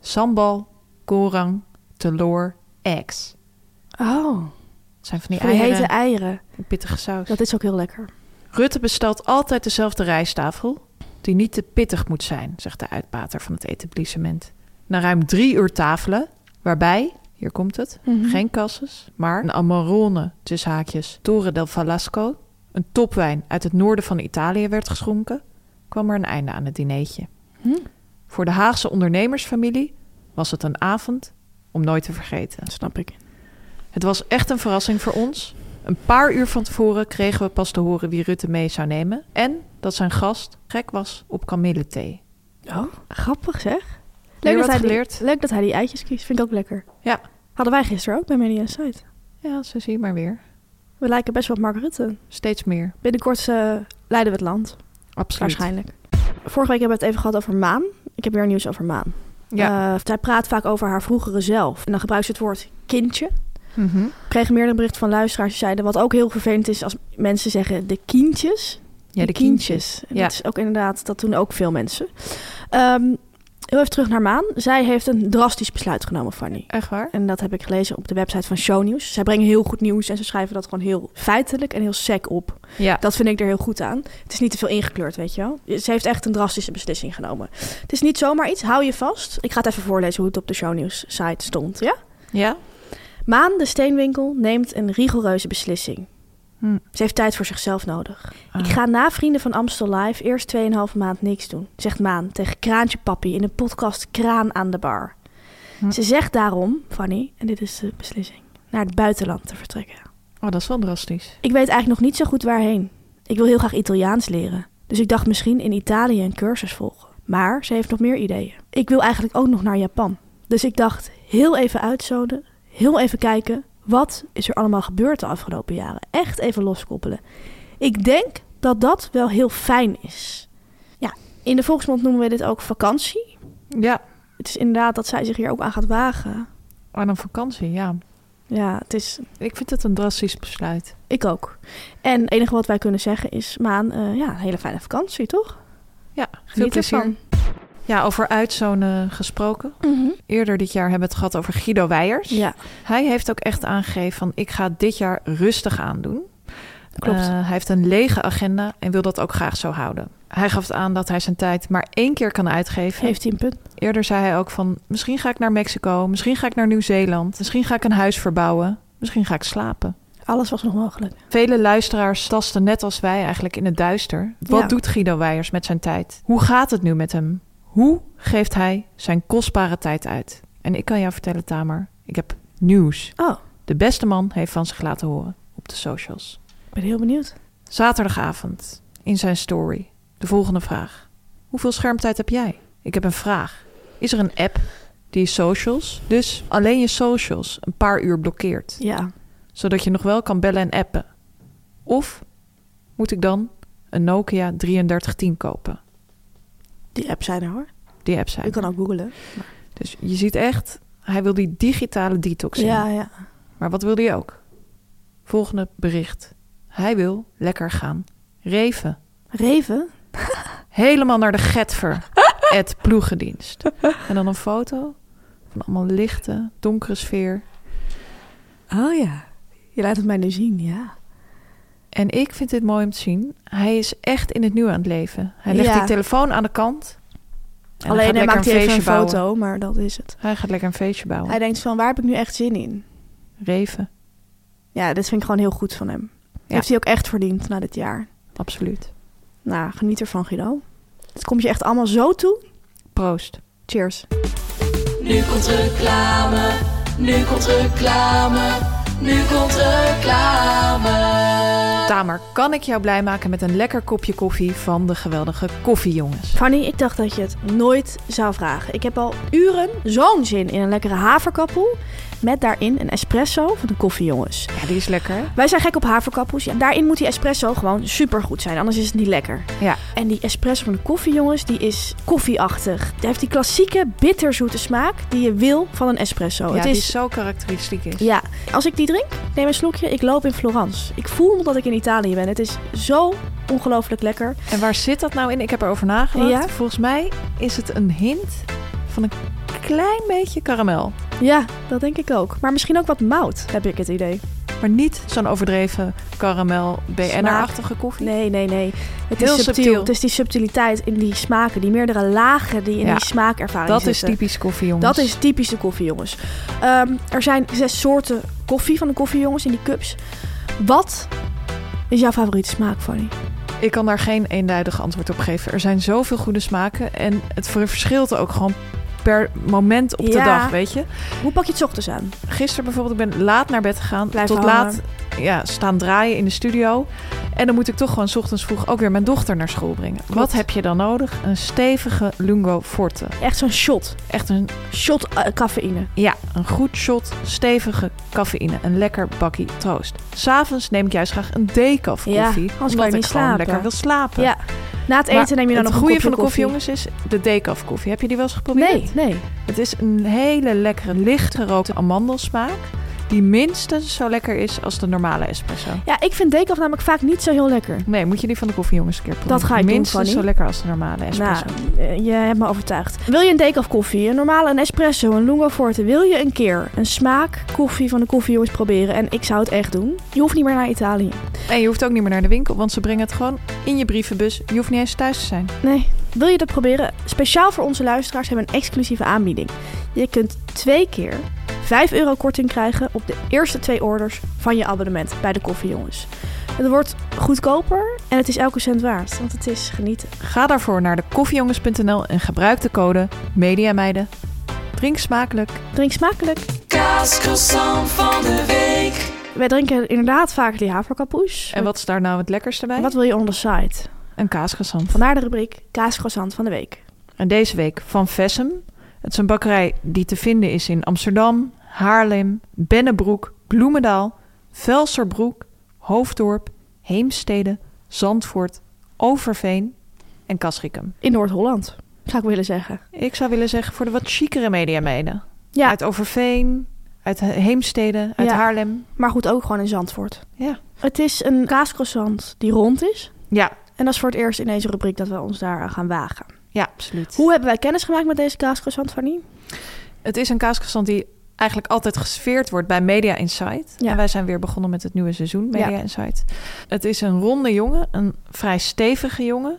B: sambal, korang, teloor, eggs.
A: Oh.
B: Het zijn van die
A: Van die
B: eieren
A: hete eieren.
B: in pittige saus.
A: Dat is ook heel lekker.
B: Rutte bestelt altijd dezelfde rijsttafel, die niet te pittig moet zijn, zegt de uitbater van het etablissement. Na ruim drie uur tafelen, waarbij, hier komt het, geen kasses, maar een Amarone tussen haakjes Torre del Falasco, een topwijn uit het noorden van Italië werd geschonken, kwam er een einde aan het dineetje. Voor de Haagse ondernemersfamilie was het een avond om nooit te vergeten.
A: Snap ik.
B: Het was echt een verrassing voor ons. Een paar uur van tevoren kregen we pas te horen wie Rutte mee zou nemen. En dat zijn gast gek was op kamillethee.
A: Oh, grappig zeg.
B: Weer wat
A: hij
B: geleerd.
A: Die, leuk dat hij die eitjes kiest. Vind ik ook lekker.
B: Ja.
A: Hadden wij gisteren ook bij Media Site.
B: ja, zo zie je maar weer.
A: We lijken best wel op Mark Rutte.
B: Steeds meer.
A: Binnenkort eh, leiden we het land.
B: Absoluut.
A: Waarschijnlijk. Vorige week hebben we het even gehad over Maan. Ik heb weer nieuws over Maan.
B: Ja.
A: Eh, zij praat vaak over haar vroegere zelf. En dan gebruikt ze het woord kindje.
B: Mhm.
A: Ik kreeg meer een bericht van luisteraars die zeiden... wat ook heel vervelend is als mensen zeggen de kindjes.
B: Ja, de kindjes.
A: En
B: Ja.
A: Dat is ook inderdaad, dat doen ook veel mensen. Ehm, Heel even terug naar Maan. Zij heeft een drastisch besluit genomen, Fanny.
B: Echt waar?
A: En dat heb ik gelezen op de website van Shownieuws. Zij brengen heel goed nieuws en ze schrijven dat gewoon heel feitelijk en heel sec op.
B: Ja.
A: Dat vind ik er heel goed aan. Het is niet te veel ingekleurd, weet je wel. Ze heeft echt een drastische beslissing genomen. Het is niet zomaar iets, hou je vast. Ik ga het even voorlezen hoe het op de Shownieuws site stond, ja?
B: Ja?
A: Maan de Steenwinkel neemt een rigoureuze beslissing.
B: Hm.
A: Ze heeft tijd voor zichzelf nodig.
B: Ah.
A: Ik ga na Vrienden van Amstel Live eerst 2,5 maand niks doen, zegt Maan tegen Kraantje Papi in de podcast Kraan aan de Bar.
B: Hm.
A: Ze zegt daarom, Fanny, en dit is de beslissing, naar het buitenland te vertrekken.
B: Oh, dat is wel drastisch.
A: Ik weet eigenlijk nog niet zo goed waarheen. Ik wil heel graag Italiaans leren. Dus ik dacht misschien in Italië een cursus volgen. Maar ze heeft nog meer ideeën. Ik wil eigenlijk ook nog naar Japan. Dus ik dacht heel even uitzoden, heel even kijken. Wat is er allemaal gebeurd de afgelopen jaren? Echt even loskoppelen. Ik denk dat dat wel heel fijn is. Ja, in de volksmond noemen we dit ook vakantie.
B: Ja.
A: Het is inderdaad dat zij zich hier ook aan gaat wagen.
B: Aan een vakantie, ja.
A: Ja, het is
B: Ik vind het een drastisch besluit.
A: Ik ook. En het enige wat wij kunnen zeggen is, Maan, eh, ja, een hele fijne vakantie, toch?
B: Ja,
A: Veel
B: veel plezier. Ja, over uitzonen gesproken. Eerder dit jaar hebben we het gehad over Guido Weijers.
A: Ja,
B: Hij heeft ook echt aangegeven van ik ga dit jaar rustig aandoen.
A: Klopt.
B: Eh, hij heeft een lege agenda en wil dat ook graag zo houden. Hij gaf aan dat hij zijn tijd maar één keer kan uitgeven.
A: heeft hij een punt.
B: Eerder zei hij ook van misschien ga ik naar Mexico, misschien ga ik naar Nieuw-Zeeland, misschien ga ik een huis verbouwen, misschien ga ik slapen.
A: Alles was nog mogelijk.
B: Vele luisteraars tasten net als wij eigenlijk in het duister. Wat
A: Ja.
B: doet Guido Weijers met zijn tijd? Hoe gaat het nu met hem? Hoe geeft hij zijn kostbare tijd uit? En ik kan jou vertellen, Tamer, ik heb nieuws.
A: Oh,
B: De beste man heeft van zich laten horen op de socials.
A: ik ben heel benieuwd.
B: Zaterdagavond in zijn story de volgende vraag: Hoeveel schermtijd heb jij? Ik heb een vraag. Is er een app die je socials, dus alleen je socials, een paar uur blokkeert,
A: Ja,
B: zodat je nog wel kan bellen en appen? Of moet ik dan een Nokia 3310 kopen?
A: die app zijn er hoor.
B: Die app zijn.
A: Je kan ook googlen.
B: Dus je ziet echt, hij wil die digitale detox. in.
A: Ja, ja.
B: Maar wat wil hij ook? Volgende bericht. Hij wil lekker gaan reven.
A: Reven?
B: Helemaal naar de Getver. Het ploegendienst. En dan een foto van allemaal lichte, donkere sfeer.
A: Oh ja. Je laat het mij nu zien, ja.
B: En ik vind dit mooi om te zien. Hij is echt in het nu aan het leven. Hij legt
A: Ja.
B: die telefoon aan de kant. En
A: Alleen
B: gaat
A: hij
B: lekker
A: maakt hier even een
B: bouwen.
A: foto, maar dat is het.
B: Hij gaat lekker een feestje bouwen.
A: Hij denkt van, waar heb ik nu echt zin in?
B: Reven,
A: Ja, dit vind ik gewoon heel goed van hem.
B: Ja.
A: Heeft hij ook echt verdiend na dit jaar.
B: absoluut.
A: Nou, geniet ervan, Guido. Het komt je echt allemaal zo toe.
B: Proost.
A: Cheers.
C: Nu komt reclame, nu komt reclame, nu komt reclame.
B: Tamer, kan ik jou blij maken met een lekker kopje koffie van de geweldige koffiejongens?
A: Fanny, ik dacht dat je het nooit zou vragen. Ik heb al uren zo'n zin in een lekkere haverkappel. Met daarin een espresso van de koffiejongens.
B: Ja, die is lekker. hè?
A: Wij zijn gek op haverkappels. Ja, daarin moet die espresso gewoon supergoed zijn, anders is het niet lekker.
B: Ja.
A: En die espresso van de koffiejongens, die is koffieachtig. Die heeft die klassieke bitterzoete smaak die je wil van een espresso.
B: ja,
A: het
B: die
A: is...
B: zo karakteristiek is.
A: Ja, als ik die drink, neem een slokje, ik loop in Florence. Ik voel dat ik in Italië ben. Het is zo ongelooflijk lekker.
B: En waar zit dat nou in? Ik heb erover nagedacht.
A: Ja?
B: Volgens mij is het een hint van een klein beetje karamel.
A: Ja, dat denk ik ook. Maar misschien ook wat mout, heb ik het idee.
B: Maar niet zo'n overdreven karamel BNR-achtige koffie.
A: Nee, nee, nee. Het
B: Heel
A: is subtiel.
B: subtiel.
A: Het is die subtiliteit in die smaken, die meerdere lagen die in
B: Ja,
A: die smaakervaring
B: dat is
A: zitten.
B: typisch koffie, jongens.
A: Dat is typisch de koffie, jongens. Ehm, er zijn zes soorten koffie van de koffie, jongens, in die cups. Wat is jouw favoriete smaak, Fanny?
B: Ik kan daar geen eenduidig antwoord op geven. Er zijn zoveel goede smaken en het ver- verschilt ook gewoon per moment op de
A: Ja.
B: dag, weet je.
A: Hoe pak je het 's ochtends aan?
B: Gisteren bijvoorbeeld, ik ben laat naar bed gegaan.
A: Blijf
B: tot
A: hangen.
B: laat ja, staan draaien in de studio. En dan moet ik toch gewoon 's ochtends vroeg ook weer mijn dochter naar school brengen. Wat heb je dan nodig? Een stevige lungo forte.
A: Echt zo'n shot.
B: Echt een,
A: Shot eh, cafeïne.
B: ja, een goed shot, stevige cafeïne. Een lekker bakkie troost. S'avonds neem ik juist graag een decaf koffie.
A: Ja, anders kan je
B: omdat ik
A: niet
B: gewoon
A: slapen.
B: lekker wil slapen.
A: Ja. Na het eten
B: Maar
A: neem je dan
B: het
A: nog een
B: goede
A: kopje
B: van de koffie, jongens, is de decaf koffie. Heb je die wel eens
A: Nee,
B: geprobeerd?
A: nee.
B: Het is een hele lekkere, licht gerookte amandelsmaak. die minstens zo lekker is als de normale espresso.
A: Ja, ik vind decaf namelijk vaak niet zo heel lekker.
B: Nee, moet je die van de koffiejongens een keer proeven.
A: ga ik doen,
B: Minstens
A: Fanny.
B: zo lekker als de normale espresso.
A: Nou, eh, je hebt me overtuigd. Wil je een decaf koffie, een normale, een espresso, een lungo forte? Wil je een keer een smaak koffie van de koffiejongens proberen? En ik zou het echt doen. Je hoeft niet meer naar Italië.
B: En je hoeft ook niet meer naar de winkel, want ze brengen het gewoon in je brievenbus. Je hoeft niet eens thuis te zijn.
A: Nee. Wil je dat proberen? Speciaal voor onze luisteraars hebben we een exclusieve aanbieding. Je kunt twee keer 5 euro korting krijgen op de eerste twee orders van je abonnement bij de koffiejongens. Het wordt goedkoper en het is elke cent waard, want het is genieten.
B: Ga daarvoor naar de koffiejongens.nl en gebruik de code MEDIAMEIDEN. Drink smakelijk.
A: Drink smakelijk.
C: Kaascroissant van de week.
A: Wij drinken inderdaad vaak die haverkapoes.
B: En wat is daar nou het lekkerste bij?
A: Wat wil je on the side?
B: Een kaasgezand.
A: Vandaar de rubriek kaascroissant van de week.
B: En deze week van Vessem. Het is een bakkerij die te vinden is in Amsterdam, Haarlem, Bennebroek, Bloemendaal, Velserbroek, Hoofddorp, Heemstede, Zandvoort, Overveen en Castricum.
A: In Noord-Holland, zou ik willen zeggen.
B: Ik zou willen zeggen voor de wat chicere mediameden.
A: Ja,
B: Uit Overveen, uit He- Heemstede, uit
A: Ja.
B: Haarlem.
A: maar goed, ook gewoon in Zandvoort.
B: Ja.
A: Het is een kaascroissant die rond is.
B: Ja,
A: En dat is voor het eerst in deze rubriek dat we ons daar aan gaan wagen.
B: ja, absoluut.
A: Hoe hebben wij kennis gemaakt met deze kaascroissant, Fanny?
B: Het is een kaasgezand die eigenlijk altijd gesfeerd wordt bij Media Insight.
A: Ja.
B: En wij zijn weer begonnen met het nieuwe seizoen Media
A: Ja.
B: Insight. Het is een ronde jongen, een vrij stevige jongen.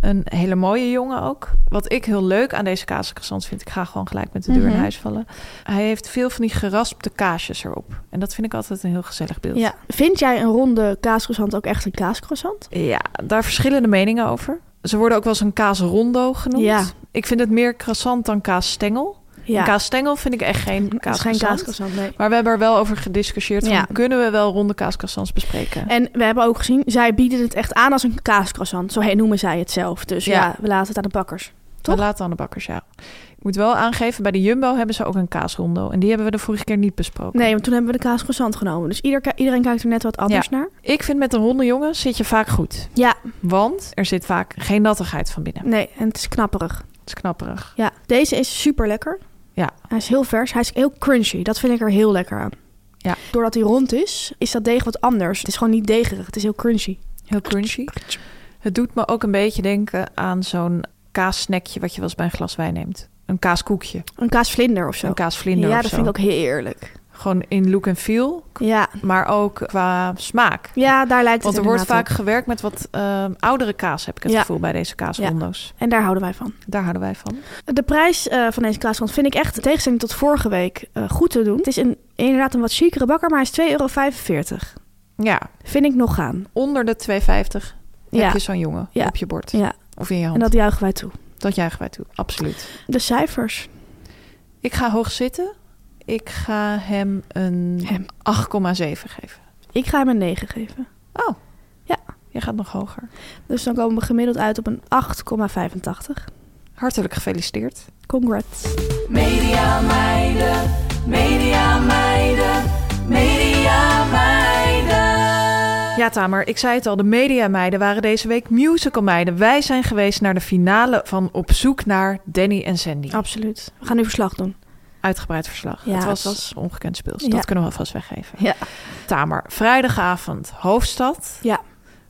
B: Een hele mooie jongen ook. Wat ik heel leuk aan deze kaasgezand vind, ik ga gewoon gelijk met de deur
A: Mhm.
B: in huis vallen. Hij heeft veel van die geraspte kaasjes erop. En dat vind ik altijd een heel gezellig beeld.
A: Ja. Vind jij een ronde kaascroissant ook echt een kaascroissant?
B: Ja, daar verschillen de meningen over. Ze worden ook wel eens een kaasrondo genoemd.
A: Ja.
B: Ik vind het meer croissant dan kaasstengel.
A: Ja,
B: Een kaasstengel vind ik echt geen
A: het is geen
B: kaasgezand.
A: kaascroissant, nee.
B: Maar we hebben er wel over gediscussieerd. Van,
A: Ja. Eh,
B: Kunnen we wel ronde kaaskassans bespreken?
A: En we hebben ook gezien, zij bieden het echt aan als een kaascroissant. Zo heen noemen zij het zelf. Dus ja,
B: Ja.
A: we laten het aan de bakkers. toch?
B: We laten aan de bakkers, ja. Ik moet wel aangeven, bij de Jumbo hebben ze ook een kaasrondo. En die hebben we de vorige keer niet besproken.
A: Nee, want toen hebben we de kaascroissant genomen. Dus ieder, iedereen kijkt er net wat anders naar.
B: Ik vind met een ronde jongen zit je vaak goed.
A: Ja,
B: Want er zit vaak geen nattigheid van binnen.
A: nee, en het is knapperig.
B: Het is knapperig.
A: Ja, deze is super lekker.
B: Ja.
A: Hij is heel vers. Hij is heel crunchy. Dat vind ik er heel lekker aan.
B: Ja.
A: Doordat hij rond is, is dat deeg wat anders. Het is gewoon niet degerig. Het is heel crunchy.
B: Heel crunchy. Het doet me ook een beetje denken aan zo'n kaassnackje... wat je wel eens bij een glas wijn neemt. Een kaaskoekje,
A: Een kaasvlinder of zo.
B: een kaasvlinder
A: ja,
B: of
A: dat
B: zo.
A: vind ik ook heerlijk.
B: Gewoon in look en feel,
A: Ja,
B: maar ook qua smaak.
A: ja daar lijkt het
B: Want er wordt
A: inderdaad
B: vaak gewerkt met wat ehm, oudere kaas, heb ik het
A: Ja.
B: gevoel, bij deze kaasrondo's.
A: op. En daar houden wij van.
B: Daar houden wij van.
A: De prijs eh, van deze kaaskrant vind ik echt, in tegenstelling tot vorige week, eh, goed te doen. Het is een, inderdaad een wat chicere bakker, maar hij is 2,45 euro.
B: Ja,
A: Vind ik nog gaan.
B: onder de 2,50
A: Ja.
B: heb je zo'n jongen
A: Ja.
B: op je bord.
A: Ja,
B: Of in je
A: en
B: hand.
A: dat
B: Dat...
A: juichen wij toe.
B: juichen wij toe, absoluut.
A: De cijfers.
B: Ik ga hoog zitten. Ik ga hem een
A: Hem.
B: 8,7 geven.
A: Ik ga hem een 9 geven.
B: Oh,
A: Ja.
B: Je gaat nog hoger.
A: Dus dan komen we gemiddeld uit op een 8,85.
B: Hartelijk gefeliciteerd.
A: Congrats.
C: Media meiden, media meiden, media meiden.
B: Ja, Tamer, ik zei het al, de mediameiden waren deze week musicalmeiden. Wij zijn geweest naar de finale van Op zoek naar Danny en Sandy.
A: Absoluut. We gaan nu verslag doen.
B: Uitgebreid verslag.
A: Ja,
B: het, was
A: het was-
B: ongekend speels.
A: Ja.
B: Dat kunnen we alvast weggeven.
A: Ja.
B: Tamer, vrijdagavond, hoofdstad.
A: Ja.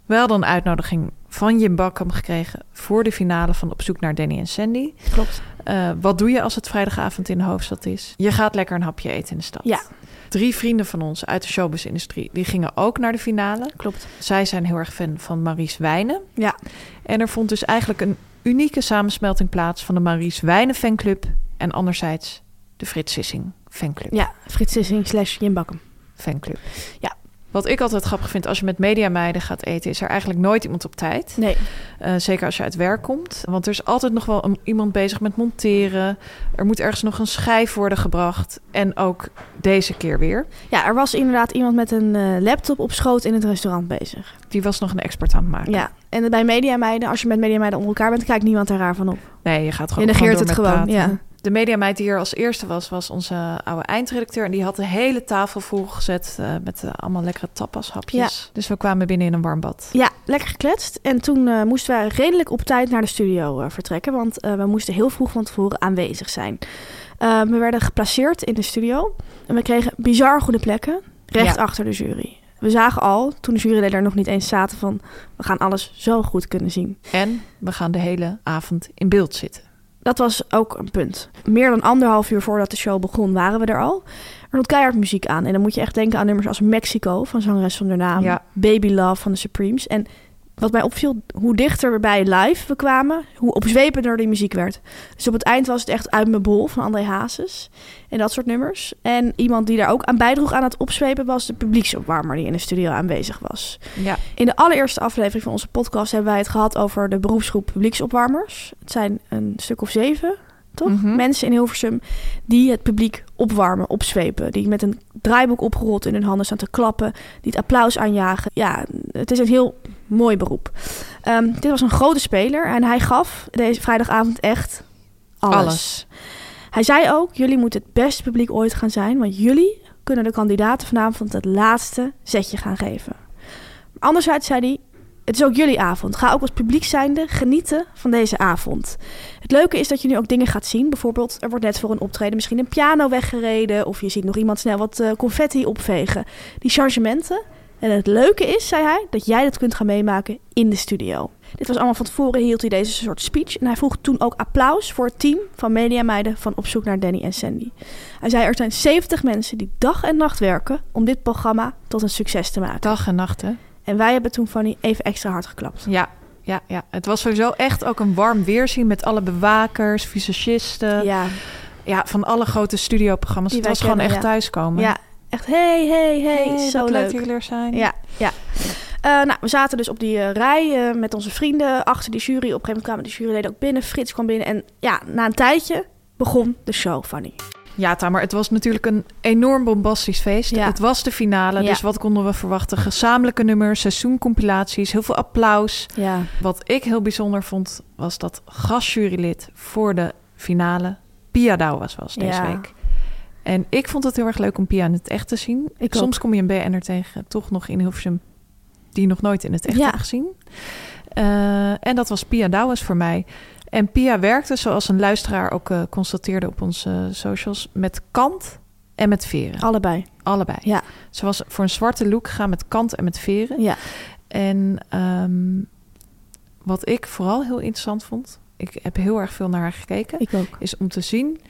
B: Wel dan uitnodiging van Jim Bakkum gekregen voor de finale van Op zoek naar Danny en Sandy.
A: Klopt.
B: Eh, wat doe je als het vrijdagavond in de hoofdstad is? Je gaat lekker een hapje eten in de stad.
A: Ja.
B: Drie vrienden van ons uit de showbiz-industrie, die gingen ook naar de finale.
A: Klopt.
B: Zij zijn heel erg fan van Maries Wijnen.
A: Ja.
B: En er vond dus eigenlijk een unieke samensmelting plaats van de Maries Wijnen fanclub en anderzijds de Frits Sissing fanclub.
A: Ja. Frits Sissing slash Jim Bakkum.
B: fanclub.
A: Ja.
B: Wat ik altijd grappig vind als je met mediameiden gaat eten, is er eigenlijk nooit iemand op tijd.
A: Nee.
B: Eh, zeker als je uit werk komt. Want er is altijd nog wel een- iemand bezig met monteren. Er moet ergens nog een schijf worden gebracht. En ook deze keer weer.
A: Ja, er was inderdaad iemand met een eh, laptop op schoot in het restaurant bezig.
B: Die was nog een expert aan het maken.
A: Ja. En bij mediameiden, als je met mediameiden onder elkaar bent, kijkt niemand er raar van op.
B: Nee, je gaat
A: Je
B: gewoon
A: negeert
B: gewoon
A: het
B: door
A: gewoon.
B: met praten.
A: Ja.
B: De mediameid die hier als eerste was, was onze oude eindredacteur. En die had de hele tafel volgezet eh, met eh, allemaal lekkere tapashapjes. Dus we kwamen binnen in een warm bad.
A: ja, lekker gekletst. En toen eh, moesten wij redelijk op tijd naar de studio eh, vertrekken, want eh, we moesten heel vroeg van tevoren aanwezig zijn. Eh, we werden geplaceerd in de studio en we kregen bizar goede plekken recht
B: Ja.
A: achter de jury. We zagen al, toen de juryleden er nog niet eens zaten, van we gaan alles zo goed kunnen zien.
B: En we gaan de hele avond in beeld zitten.
A: Dat was ook een punt. Meer dan anderhalf uur voordat de show begon waren we er al. Er stond keihard muziek aan. En dan moet je echt denken aan nummers als Mexico van Zangeres zonder naam.
B: Ja.
A: Baby Love van de Supremes. En wat mij opviel, hoe dichter we bij live we kwamen, hoe opzwepender die muziek werd. Dus op het eind was het echt Uit mijn bol van André Hazes. En dat soort nummers. En iemand die daar ook aan bijdroeg aan het opzwepen was de publieksopwarmer die in de studio aanwezig was.
B: Ja.
A: In de allereerste aflevering van onze podcast hebben wij het gehad over de beroepsgroep publieksopwarmers. Het zijn een stuk of zeven, toch?
B: Mhm.
A: Mensen in Hilversum die het publiek opwarmen, opzwepen. Die met een draaiboek opgerold in hun handen staan te klappen. Die het applaus aanjagen. Ja, het is een heel mooi beroep. Ehm, dit was een grote speler en hij gaf deze vrijdagavond echt alles.
B: Alles.
A: Hij zei ook, jullie moeten het beste publiek ooit gaan zijn, want jullie kunnen de kandidaten vanavond het laatste zetje gaan geven. Anderzijds zei hij, het is ook jullie avond. Ga ook als publiek zijnde genieten van deze avond. Het leuke is dat je nu ook dingen gaat zien. Bijvoorbeeld, er wordt net voor een optreden misschien een piano weggereden. Of je ziet nog iemand snel wat eh, confetti opvegen. Die changementen. En het leuke is, zei hij, dat jij dat kunt gaan meemaken in de studio. Dit was allemaal van tevoren, hield hij deze soort speech. En hij vroeg toen ook applaus voor het team van mediameiden van Op zoek naar Danny en Sandy. Hij zei, er zijn 70 mensen die dag en nacht werken om dit programma tot een succes te maken.
B: Dag en nacht, hè?
A: En wij hebben toen Fanny even extra hard geklapt.
B: Ja, ja, ja. Het was sowieso echt ook een warm weerzien met alle bewakers, visagisten. Ja,
A: Ja,
B: van alle grote studioprogramma's.
A: Die
B: Het
A: wij
B: was gewoon
A: kennen,
B: echt
A: ja.
B: thuiskomen.
A: ja, echt hey, hey, hey, zo
B: dat
A: leuk.
B: leuk jullie er zijn.
A: Ja, ja. Eh, nou, we zaten dus op die eh, rij eh, met onze vrienden achter die jury. Op een gegeven moment kwamen de juryleden ook binnen. Frits kwam binnen en ja, na een tijdje begon de show, Fanny.
B: Ja, Tamer, het was natuurlijk een enorm bombastisch feest.
A: Ja.
B: Het was de finale,
A: Ja.
B: dus wat konden we verwachten? Gezamenlijke nummers, seizoencompilaties, heel veel applaus.
A: Ja.
B: Wat ik heel bijzonder vond, was dat gastjurylid voor de finale Pia Douwas was deze
A: Ja.
B: week. En ik vond het heel erg leuk om Pia in het echt te zien.
A: Ik
B: Soms kom je een BN'er tegen, toch nog in Hilversum, die je nog nooit in het echt
A: Ja.
B: hebt gezien. Eh, en dat was Pia Douwes voor mij. En Pia werkte, zoals een luisteraar ook eh, constateerde op onze eh, socials, met kant en met veren.
A: Allebei.
B: Allebei.
A: Ja.
B: Ze was voor een zwarte look gegaan met kant en met veren.
A: Ja.
B: En ehm, wat ik vooral heel interessant vond, ik heb heel erg veel naar haar gekeken,
A: Ik ook.
B: is om te zien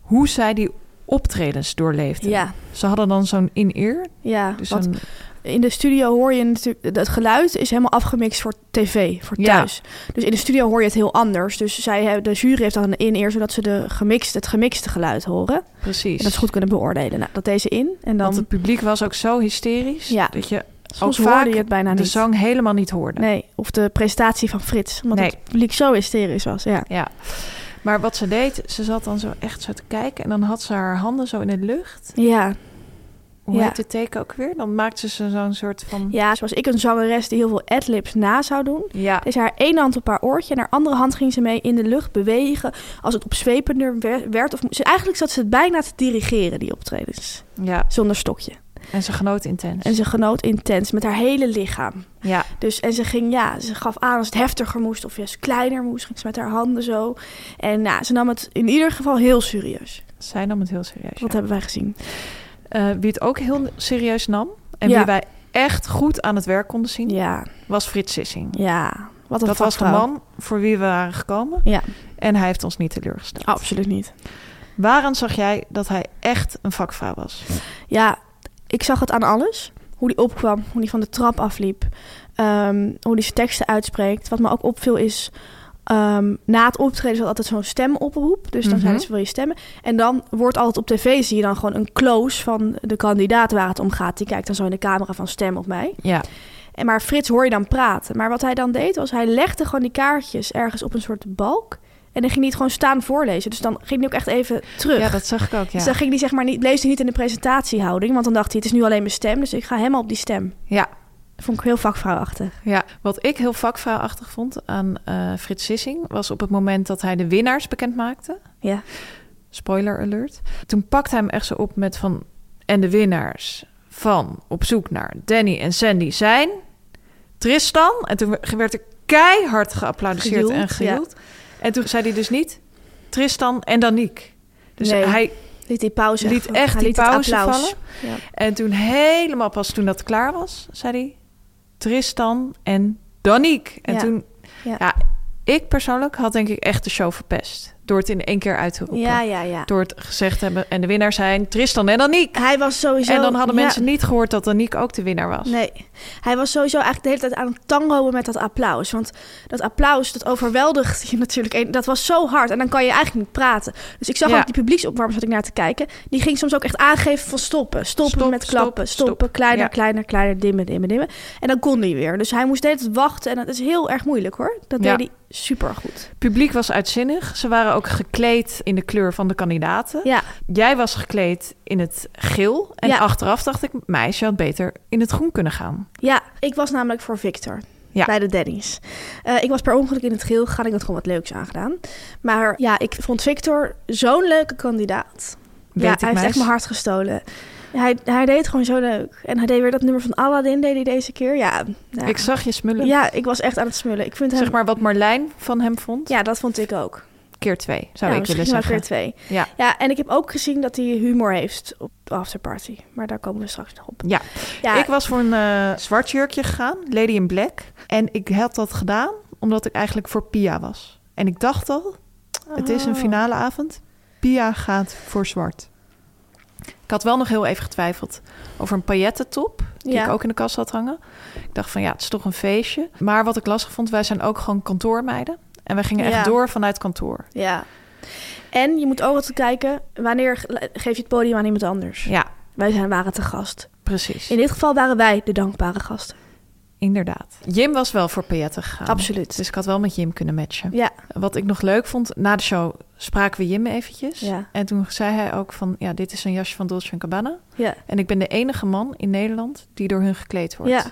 B: hoe zij die optredens doorleefde.
A: Ja, Ah,
B: Ze hadden dan zo'n in-ear.
A: ja.
B: Dus
A: want
B: een-
A: in de studio hoor je natuurlijk... Het geluid is helemaal afgemixt voor tv, voor
B: Ja.
A: thuis. Dus in de studio hoor je het heel anders. Dus zij, hebben- de jury heeft dan een in-ear... zodat ze de gemixte, het gemixte geluid horen.
B: precies.
A: En dat ze goed kunnen beoordelen. Nou, dat deze in en dan...
B: Want het publiek was ook zo hysterisch
A: Ja.
B: dat je
A: soms
B: ook
A: hoorde
B: vaak
A: je het bijna
B: de
A: niet.
B: zang helemaal niet hoorde.
A: Nee, of de presentatie van Frits. Omdat
B: Nee.
A: het publiek zo hysterisch was. Ja.
B: Ja. Maar wat ze deed, ze zat dan zo echt zo te kijken en dan had ze haar handen zo in de lucht.
A: Ja.
B: Hoe
A: Ja.
B: heet de teken ook weer? Dan maakte ze zo'n soort van...
A: ja, zoals ik een zangeres die heel veel adlibs na zou doen.
B: Ja.
A: Is haar ene hand op haar oortje en haar andere hand ging ze mee in de lucht bewegen. Als het opzwepender wer- werd. Of, ze, eigenlijk zat ze het bijna te dirigeren, die optredens.
B: ja.
A: Zonder stokje.
B: En ze genoot intens.
A: En ze genoot intens met haar hele lichaam.
B: Ja.
A: Dus, en ze ging, ja, ze gaf aan als het heftiger moest of juist kleiner moest. Ging ze met haar handen zo. En nou, ze nam het in ieder geval heel serieus.
B: Zij nam het heel serieus.
A: Dat
B: ja.
A: hebben wij gezien.
B: Eh, wie het ook heel serieus nam en
A: Ja.
B: wie wij echt goed aan het werk konden zien,
A: Ja,
B: was Frits Sissing.
A: ja. Wat een
B: Dat was de
A: vakvrouw.
B: man voor wie we waren gekomen
A: Ja,
B: en hij heeft ons niet teleurgesteld.
A: absoluut niet.
B: Waaraan zag jij dat hij echt een vakvrouw was?
A: Ja, ik zag het aan alles. Hoe die opkwam, hoe die van de trap afliep. ehm, hoe die zijn teksten uitspreekt. Wat me ook opviel is... ehm, na het optreden zat altijd zo'n stemoproep. Dus dan
B: Mhm.
A: zeiden ze, wil je stemmen? En dan wordt altijd op tv, zie je dan gewoon een close van de kandidaat waar het om gaat. Die kijkt dan zo in de camera van stem op mij.
B: Ja.
A: En maar Frits hoor je dan praten. Maar wat hij dan deed was, hij legde gewoon die kaartjes ergens op een soort balk. En dan ging hij het gewoon staan voorlezen. Dus dan ging hij ook echt even terug.
B: ja, dat zag ik ook. Ja.
A: Dus dan ging hij zeg maar niet, lees hij niet in de presentatiehouding. Want dan dacht hij, het is nu alleen mijn stem. Dus ik ga helemaal op die stem.
B: ja.
A: Dat vond ik heel vakvrouwachtig.
B: Ja, wat ik heel vakvrouwachtig vond aan eh, Frits Sissing was op het moment dat hij de winnaars bekend maakte.
A: Ja.
B: Spoiler alert. Toen pakte hij hem echt zo op met van. En de winnaars van Op zoek naar Danny en Sandy zijn. Tristan. En toen werd er keihard geapplaudisseerd
A: Gejoeld,
B: en gejoeld. En toen zei hij dus niet Tristan en Danique. Dus
A: Nee.
B: hij
A: Liet die pauze
B: liet
A: gewoon- hij
B: echt die
A: het
B: pauze
A: applaus.
B: vallen.
A: Ja.
B: En toen helemaal pas toen dat klaar was, zei hij... Tristan en Danique. En
A: Ja.
B: toen...
A: Ja.
B: Ja. ik persoonlijk had denk ik echt de show verpest. Door het in één keer uit te roepen.
A: Ja, ja, ja.
B: Door het gezegd te hebben... En de winnaar zijn Tristan en Danique.
A: Hij was sowieso...
B: en dan hadden
A: Oh, ja.
B: mensen niet gehoord dat Danique ook de winnaar was.
A: Nee, hij was sowieso eigenlijk de hele tijd aan het tangoen met dat applaus. Want dat applaus, dat overweldigt je natuurlijk. En dat was zo hard en dan kan je eigenlijk niet praten. Dus ik zag
B: Ja.
A: ook die publieksopwarmers, zat ik naar te kijken. Die ging soms ook echt aangeven van stoppen. Stoppen
B: Stop,
A: met
B: stop,
A: klappen,
B: stop.
A: stoppen, kleiner,
B: Ja.
A: kleiner, kleiner, dimmen, dimmen, dimmen. En dan kon hij weer. Dus hij moest de hele tijd wachten en dat is heel erg moeilijk hoor. Dat
B: Ja.
A: deed hij supergoed.
B: Het publiek was uitzinnig. Ze waren ook gekleed in de kleur van de kandidaten.
A: Ja,
B: Jij was gekleed in het geel. En
A: Ja.
B: achteraf dacht ik, meisje had beter in het groen kunnen gaan.
A: ja, ik was namelijk voor Victor.
B: Ja.
A: Bij de Denny's. Eh, ik was per ongeluk in het geel gegaan. Ik had gewoon wat leuks aangedaan. Maar ja, ik vond Victor zo'n leuke kandidaat.
B: Weet
A: ja,
B: ik,
A: hij heeft
B: meis.
A: echt mijn hart gestolen. Hij, hij deed het gewoon zo leuk. En hij deed weer dat nummer van Aladdin, deed hij deze keer. Ja, nou ja.
B: Ik zag je smullen.
A: ja ik was echt aan het smullen. Ik vind hem...
B: Zeg maar wat Marlijn van hem vond.
A: Ja, dat vond ik ook.
B: Keer twee, zou
A: Ja,
B: ik willen
A: misschien wel
B: zeggen.
A: keer twee.
B: Ja.
A: Ja, en ik heb ook gezien dat hij humor heeft op de afterparty. Maar daar komen we straks nog op.
B: Ja.
A: Ja,
B: ik was voor een eh, zwart jurkje gegaan, Lady in Black. En ik had dat gedaan omdat ik eigenlijk voor Pia was. En ik dacht al, het is
A: Oh.
B: een finale avond. Pia gaat voor zwart. Ik had wel nog heel even getwijfeld over een paillettentop. Die
A: Ja.
B: ik ook in de kast had hangen. Ik dacht van ja, het is toch een feestje. Maar wat ik lastig vond, wij zijn ook gewoon kantoormeiden. En wij gingen
A: Ja.
B: echt door vanuit kantoor.
A: ja. En je moet ook altijd kijken, wanneer ge- geef je het podium aan iemand anders?
B: Ja,
A: Wij zijn, waren te gast.
B: precies.
A: In dit geval waren wij de dankbare gasten.
B: Inderdaad. Jim was wel voor pailletten gegaan.
A: Absoluut.
B: Dus ik had wel met Jim kunnen matchen.
A: Ja,
B: Wat ik nog leuk vond, na de show spraken we Jim eventjes.
A: Ja.
B: En toen zei hij ook van, ja, dit is een jasje van Dolce Gabbana.
A: ja,
B: En ik ben de enige man in Nederland die door hun gekleed wordt.
A: Ja.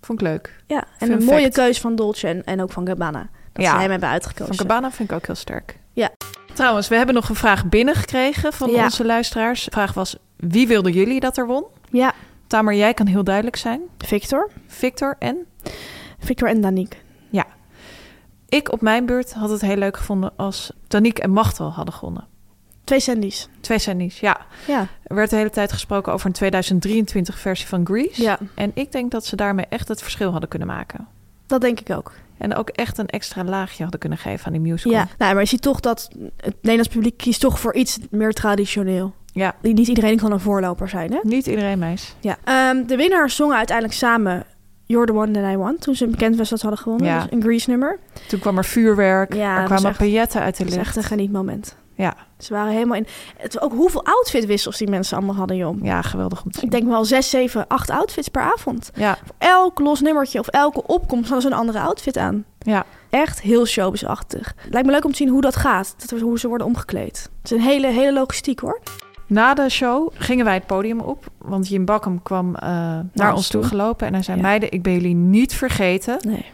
B: Vond ik leuk.
A: ja. En
B: Fun
A: een mooie
B: fact.
A: keus van Dolce en, en ook van Gabbana. Dat
B: Ja.
A: ze hem hebben
B: Van
A: uitgekozen.
B: Gabbana vind ik ook heel sterk.
A: Ja.
B: Trouwens, we hebben nog een vraag binnengekregen van
A: Ja.
B: onze luisteraars. De vraag was, wie wilden jullie dat er won?
A: Ja,
B: Tamer, jij kan heel duidelijk zijn.
A: Victor.
B: Victor en
A: Victor en Danique.
B: ik op mijn beurt had het heel leuk gevonden als Danique en Machtel hadden gewonnen.
A: Twee Sandy's.
B: Twee Sandy's, ja.
A: Ja.
B: Er werd de hele tijd gesproken over een 2023 versie van Grease.
A: Ja.
B: En ik denk dat ze daarmee echt het verschil hadden kunnen maken.
A: Dat denk ik ook.
B: En ook echt een extra laagje hadden kunnen geven aan die musical.
A: Ja. Nou, maar je ziet toch dat het Nederlands publiek kiest toch voor iets meer traditioneel.
B: Ja.
A: Niet iedereen kan een voorloper zijn, hè?
B: Niet iedereen, meis.
A: Ja. Ehm, de winnaars zongen uiteindelijk samen You're the One That I Want. Toen ze bekend was dat ze hadden gewonnen.
B: Ja.
A: Dus een Grease nummer.
B: Toen kwam er vuurwerk,
A: Ja, dat
B: er
A: was
B: kwamen
A: echt-
B: pailletten uit de
A: Dat is
B: lucht.
A: echt een genietmoment.
B: Ja.
A: Ze waren helemaal in... Het, ook hoeveel outfitwissels die mensen allemaal hadden, joh.
B: ja, geweldig om te zien.
A: Ik denk wel zes, zeven, acht outfits per avond.
B: Ja,
A: Elk los nummertje of elke opkomst hadden ze een andere outfit aan.
B: ja.
A: Echt heel showbizachtig. Lijkt me leuk om te zien hoe dat gaat. Dat we- hoe ze worden omgekleed. Het is een hele, hele logistiek hoor.
B: Na de show gingen wij het podium op, want Jim Bakkum kwam eh, naar
A: ons
B: ons
A: toe.
B: toe gelopen en hij zei:
A: Ja.
B: Meiden, ik ben jullie niet vergeten.
A: Nee.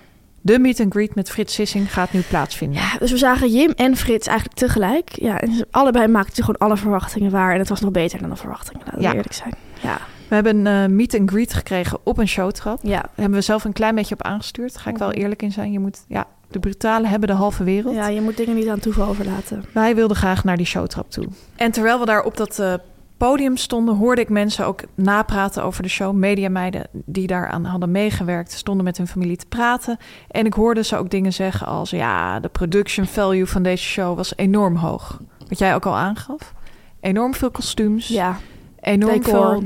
B: De meet and greet met Frits Sissing gaat nu plaatsvinden.
A: Ja, dus we zagen Jim en Frits eigenlijk tegelijk. Ja, en ze- allebei maakten ze gewoon alle verwachtingen waar. En het was nog beter dan de verwachtingen, laten we
B: Ja.
A: eerlijk zijn. Ja,
B: We hebben een eh, meet and greet gekregen op een showtrap.
A: ja,
B: Daar hebben we zelf een klein beetje op aangestuurd. Daar ga ik wel
A: Mhm.
B: eerlijk in zijn. Je moet, ja, de brutalen hebben de halve wereld.
A: ja, je moet dingen niet aan toeval overlaten.
B: Wij wilden graag naar die showtrap toe. En terwijl we daar op dat eh, podium stonden, hoorde ik mensen ook napraten over de show. Mediameiden die daaraan hadden meegewerkt, stonden met hun familie te praten. En ik hoorde ze ook dingen zeggen als: ja, de production value van deze show was enorm hoog. Wat jij ook al aangaf. Enorm veel kostuums,
A: Ja,
B: enorm
A: decor.
B: veel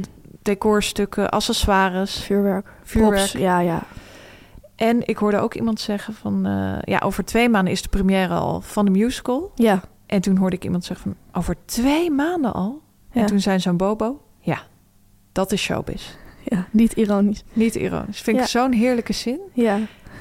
B: decorstukken, accessoires,
A: vuurwerk,
B: vuurwerk.
A: props. Ja, ja.
B: En ik hoorde ook iemand zeggen van... eh, ja, over twee maanden is de première al van de musical.
A: Ja,
B: En toen hoorde ik iemand zeggen van... over twee maanden al?
A: Ja.
B: En toen zei zo'n bobo... ja, dat is showbiz.
A: ja, niet ironisch.
B: Niet ironisch. Vind
A: Ja.
B: ik zo'n heerlijke zin.
A: Ja,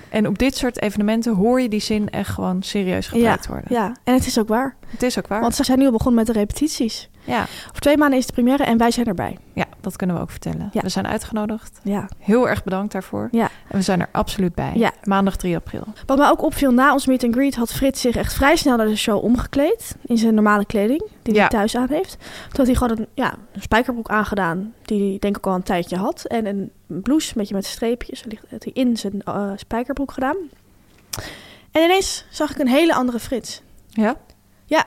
B: En op dit soort evenementen hoor je die zin echt gewoon serieus gebruikt worden.
A: ja, en het is ook waar.
B: Het is ook waar.
A: Want ze zijn nu al begonnen met de repetities.
B: Ja.
A: Over twee maanden is de première en wij zijn erbij.
B: ja, dat kunnen we ook vertellen.
A: Ja.
B: We zijn uitgenodigd.
A: Ja.
B: Heel erg bedankt daarvoor.
A: Ja.
B: En we zijn er absoluut bij.
A: Ja.
B: Maandag 3 april.
A: Wat mij ook opviel na ons meet and greet had Frits zich echt vrij snel naar de show omgekleed. In zijn normale kleding, die hij
B: Ja.
A: thuis aan heeft. Toen had hij gewoon een, ja, een spijkerbroek aangedaan, die hij denk ik al een tijdje had. En een blouse, een beetje met streepjes, die had hij in zijn eh, spijkerbroek gedaan. En ineens zag ik een hele andere Frits.
B: Ja?
A: Ja,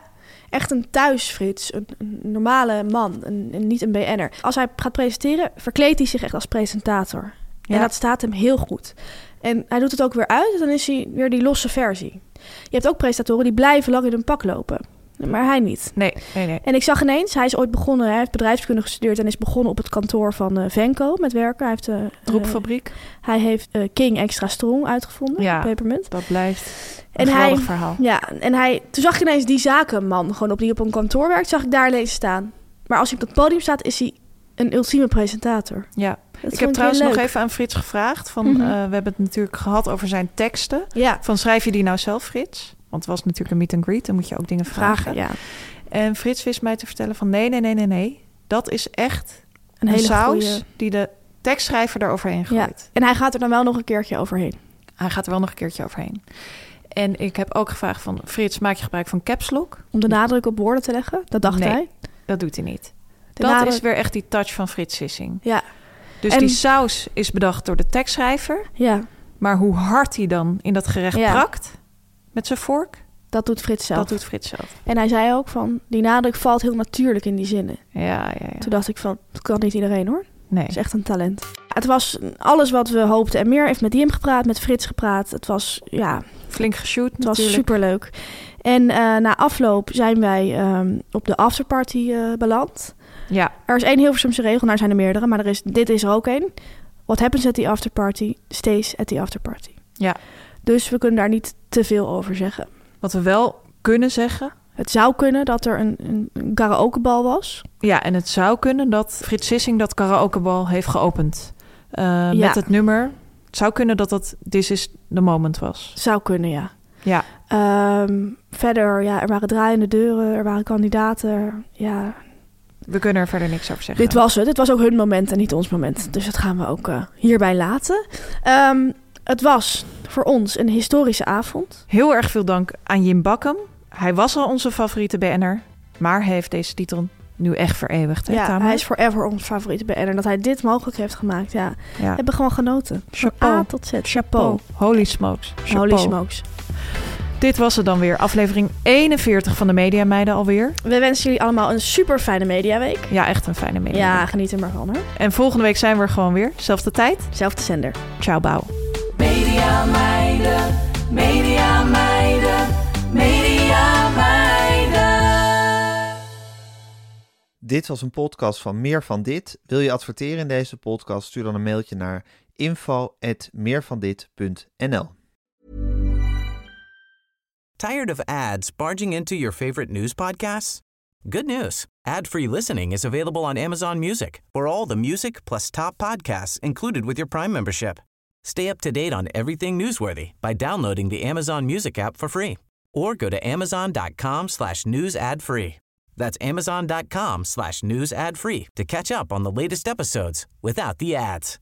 A: echt een thuisfrits, een, een normale man, een, een- niet een BN'er. Als hij gaat presenteren, verkleedt hij zich echt als presentator.
B: Ja.
A: En dat staat hem heel goed. En hij doet het ook weer uit, dan is hij weer die losse versie. Je hebt ook presentatoren die blijven lang in hun pak lopen. Maar hij niet.
B: Nee, nee, nee.
A: En ik zag ineens, hij is ooit begonnen, hij heeft bedrijfskunde gestudeerd en is begonnen op het kantoor van eh, Venco met werken. Hij heeft, eh, eh,
B: Troepfabriek,
A: hij heeft eh, King Extra Strong uitgevonden,
B: Ja.
A: pepermunt.
B: dat blijft een
A: En
B: geweldig
A: hij-
B: verhaal.
A: Ja, en hij, toen zag ik ineens die zakenman, gewoon op die op een kantoor werkt, zag ik daar ineens staan. Maar als hij op dat podium staat, is hij een ultieme presentator.
B: Ja.
A: Dat
B: Ik
A: vond
B: heb
A: heel
B: trouwens nog
A: leuk.
B: even aan Frits gevraagd. Van,
A: Mhm.
B: eh, we hebben het natuurlijk gehad over zijn teksten.
A: Ja,
B: Van schrijf je die nou zelf, Frits? Want het was natuurlijk een meet and greet, dan moet je ook dingen vragen.
A: vragen, ja.
B: En Frits wist mij te vertellen van nee, nee, nee, nee, nee. Dat is echt
A: Een
B: een,
A: hele
B: saus
A: goeie-
B: die de tekstschrijver daaroverheen
A: Ja.
B: gooit.
A: En hij gaat er dan wel nog een keertje overheen.
B: Hij gaat er wel nog een keertje overheen. En ik heb ook gevraagd van Frits, maak je gebruik van caps lock?
A: Om de nadruk op woorden te leggen, dat dacht
B: Nee.
A: hij.
B: Dat doet hij niet.
A: De
B: dat
A: nadruk-
B: is weer echt die touch van Frits Sissing.
A: Ja,
B: Dus
A: En-
B: die saus is bedacht door de tekstschrijver.
A: ja,
B: Maar hoe hard hij dan in dat gerecht
A: Ja.
B: prakt met zijn vork,
A: dat doet Frits zelf.
B: dat doet Frits zelf.
A: En hij zei ook van, die nadruk valt heel natuurlijk in die zinnen.
B: Ja, ja, ja.
A: Toen dacht ik van, dat kan niet iedereen hoor.
B: Nee.
A: Het is echt een talent. Het was alles wat we hoopten en meer. Hij heeft met hem gepraat, met Frits gepraat. Het was, ja,
B: Flink geshoot
A: het was
B: natuurlijk.
A: superleuk. En eh, na afloop zijn wij ehm, op de afterparty eh, beland.
B: Ja,
A: Er is één Hilversumse regel, nou er zijn er meerdere, maar er is, dit is er ook één. What happens at the afterparty, stays at the afterparty.
B: Ja.
A: Dus we kunnen daar niet te veel over zeggen.
B: wat we wel kunnen zeggen.
A: Het zou kunnen dat er een, een, een karaokebal was.
B: Ja, en het zou kunnen dat Frits Sissing dat karaokebal heeft geopend. eh,
A: Ja.
B: Met het nummer. Het zou kunnen dat dat This is the moment was.
A: Zou kunnen, ja.
B: Ja,
A: Ehm, verder, ja, er waren draaiende deuren, er waren kandidaten. Ja,
B: we kunnen er verder niks over zeggen.
A: dit was het. Dit was ook hun moment en niet ons moment. Dus dat gaan we ook eh, hierbij laten. Ehm, het was voor ons een historische avond.
B: Heel erg veel dank aan Jim Bakkum. Hij was al onze favoriete BN'er. Maar hij heeft deze titel nu echt vereeuwigd. Hè, Tamar?
A: hij is forever ons favoriete BN'er. En dat hij dit mogelijk heeft gemaakt, ja. We
B: Ja.
A: hebben gewoon genoten. Van
B: Chapeau.
A: A tot Z.
B: Chapeau. Holy smokes. Chapeau.
A: Holy smokes.
B: Dit was het dan weer. Aflevering 41 van de Media Meiden alweer.
A: We wensen jullie allemaal een super fijne mediaweek.
B: Ja, echt een fijne media.
A: Ja, geniet er maar van, hè.
B: En volgende week zijn we er gewoon weer. Zelfde tijd.
A: Zelfde zender.
B: Ciao, bouw.
C: Media meiden, media meiden, media meiden.
D: Dit was een podcast van Meer van Dit. Wil je adverteren in deze podcast? Stuur dan een mailtje naar info.meervandit.nl
E: Tired of ads barging into your favorite news podcasts? Good news. Ad-free listening is available on Amazon Music for all the music plus top podcasts included with your Prime membership. Stay up to date on everything newsworthy by downloading the Amazon Music app for free or go to amazon.com slash news ad free. That's amazon.com slash news ad free to catch up on the latest episodes without the ads.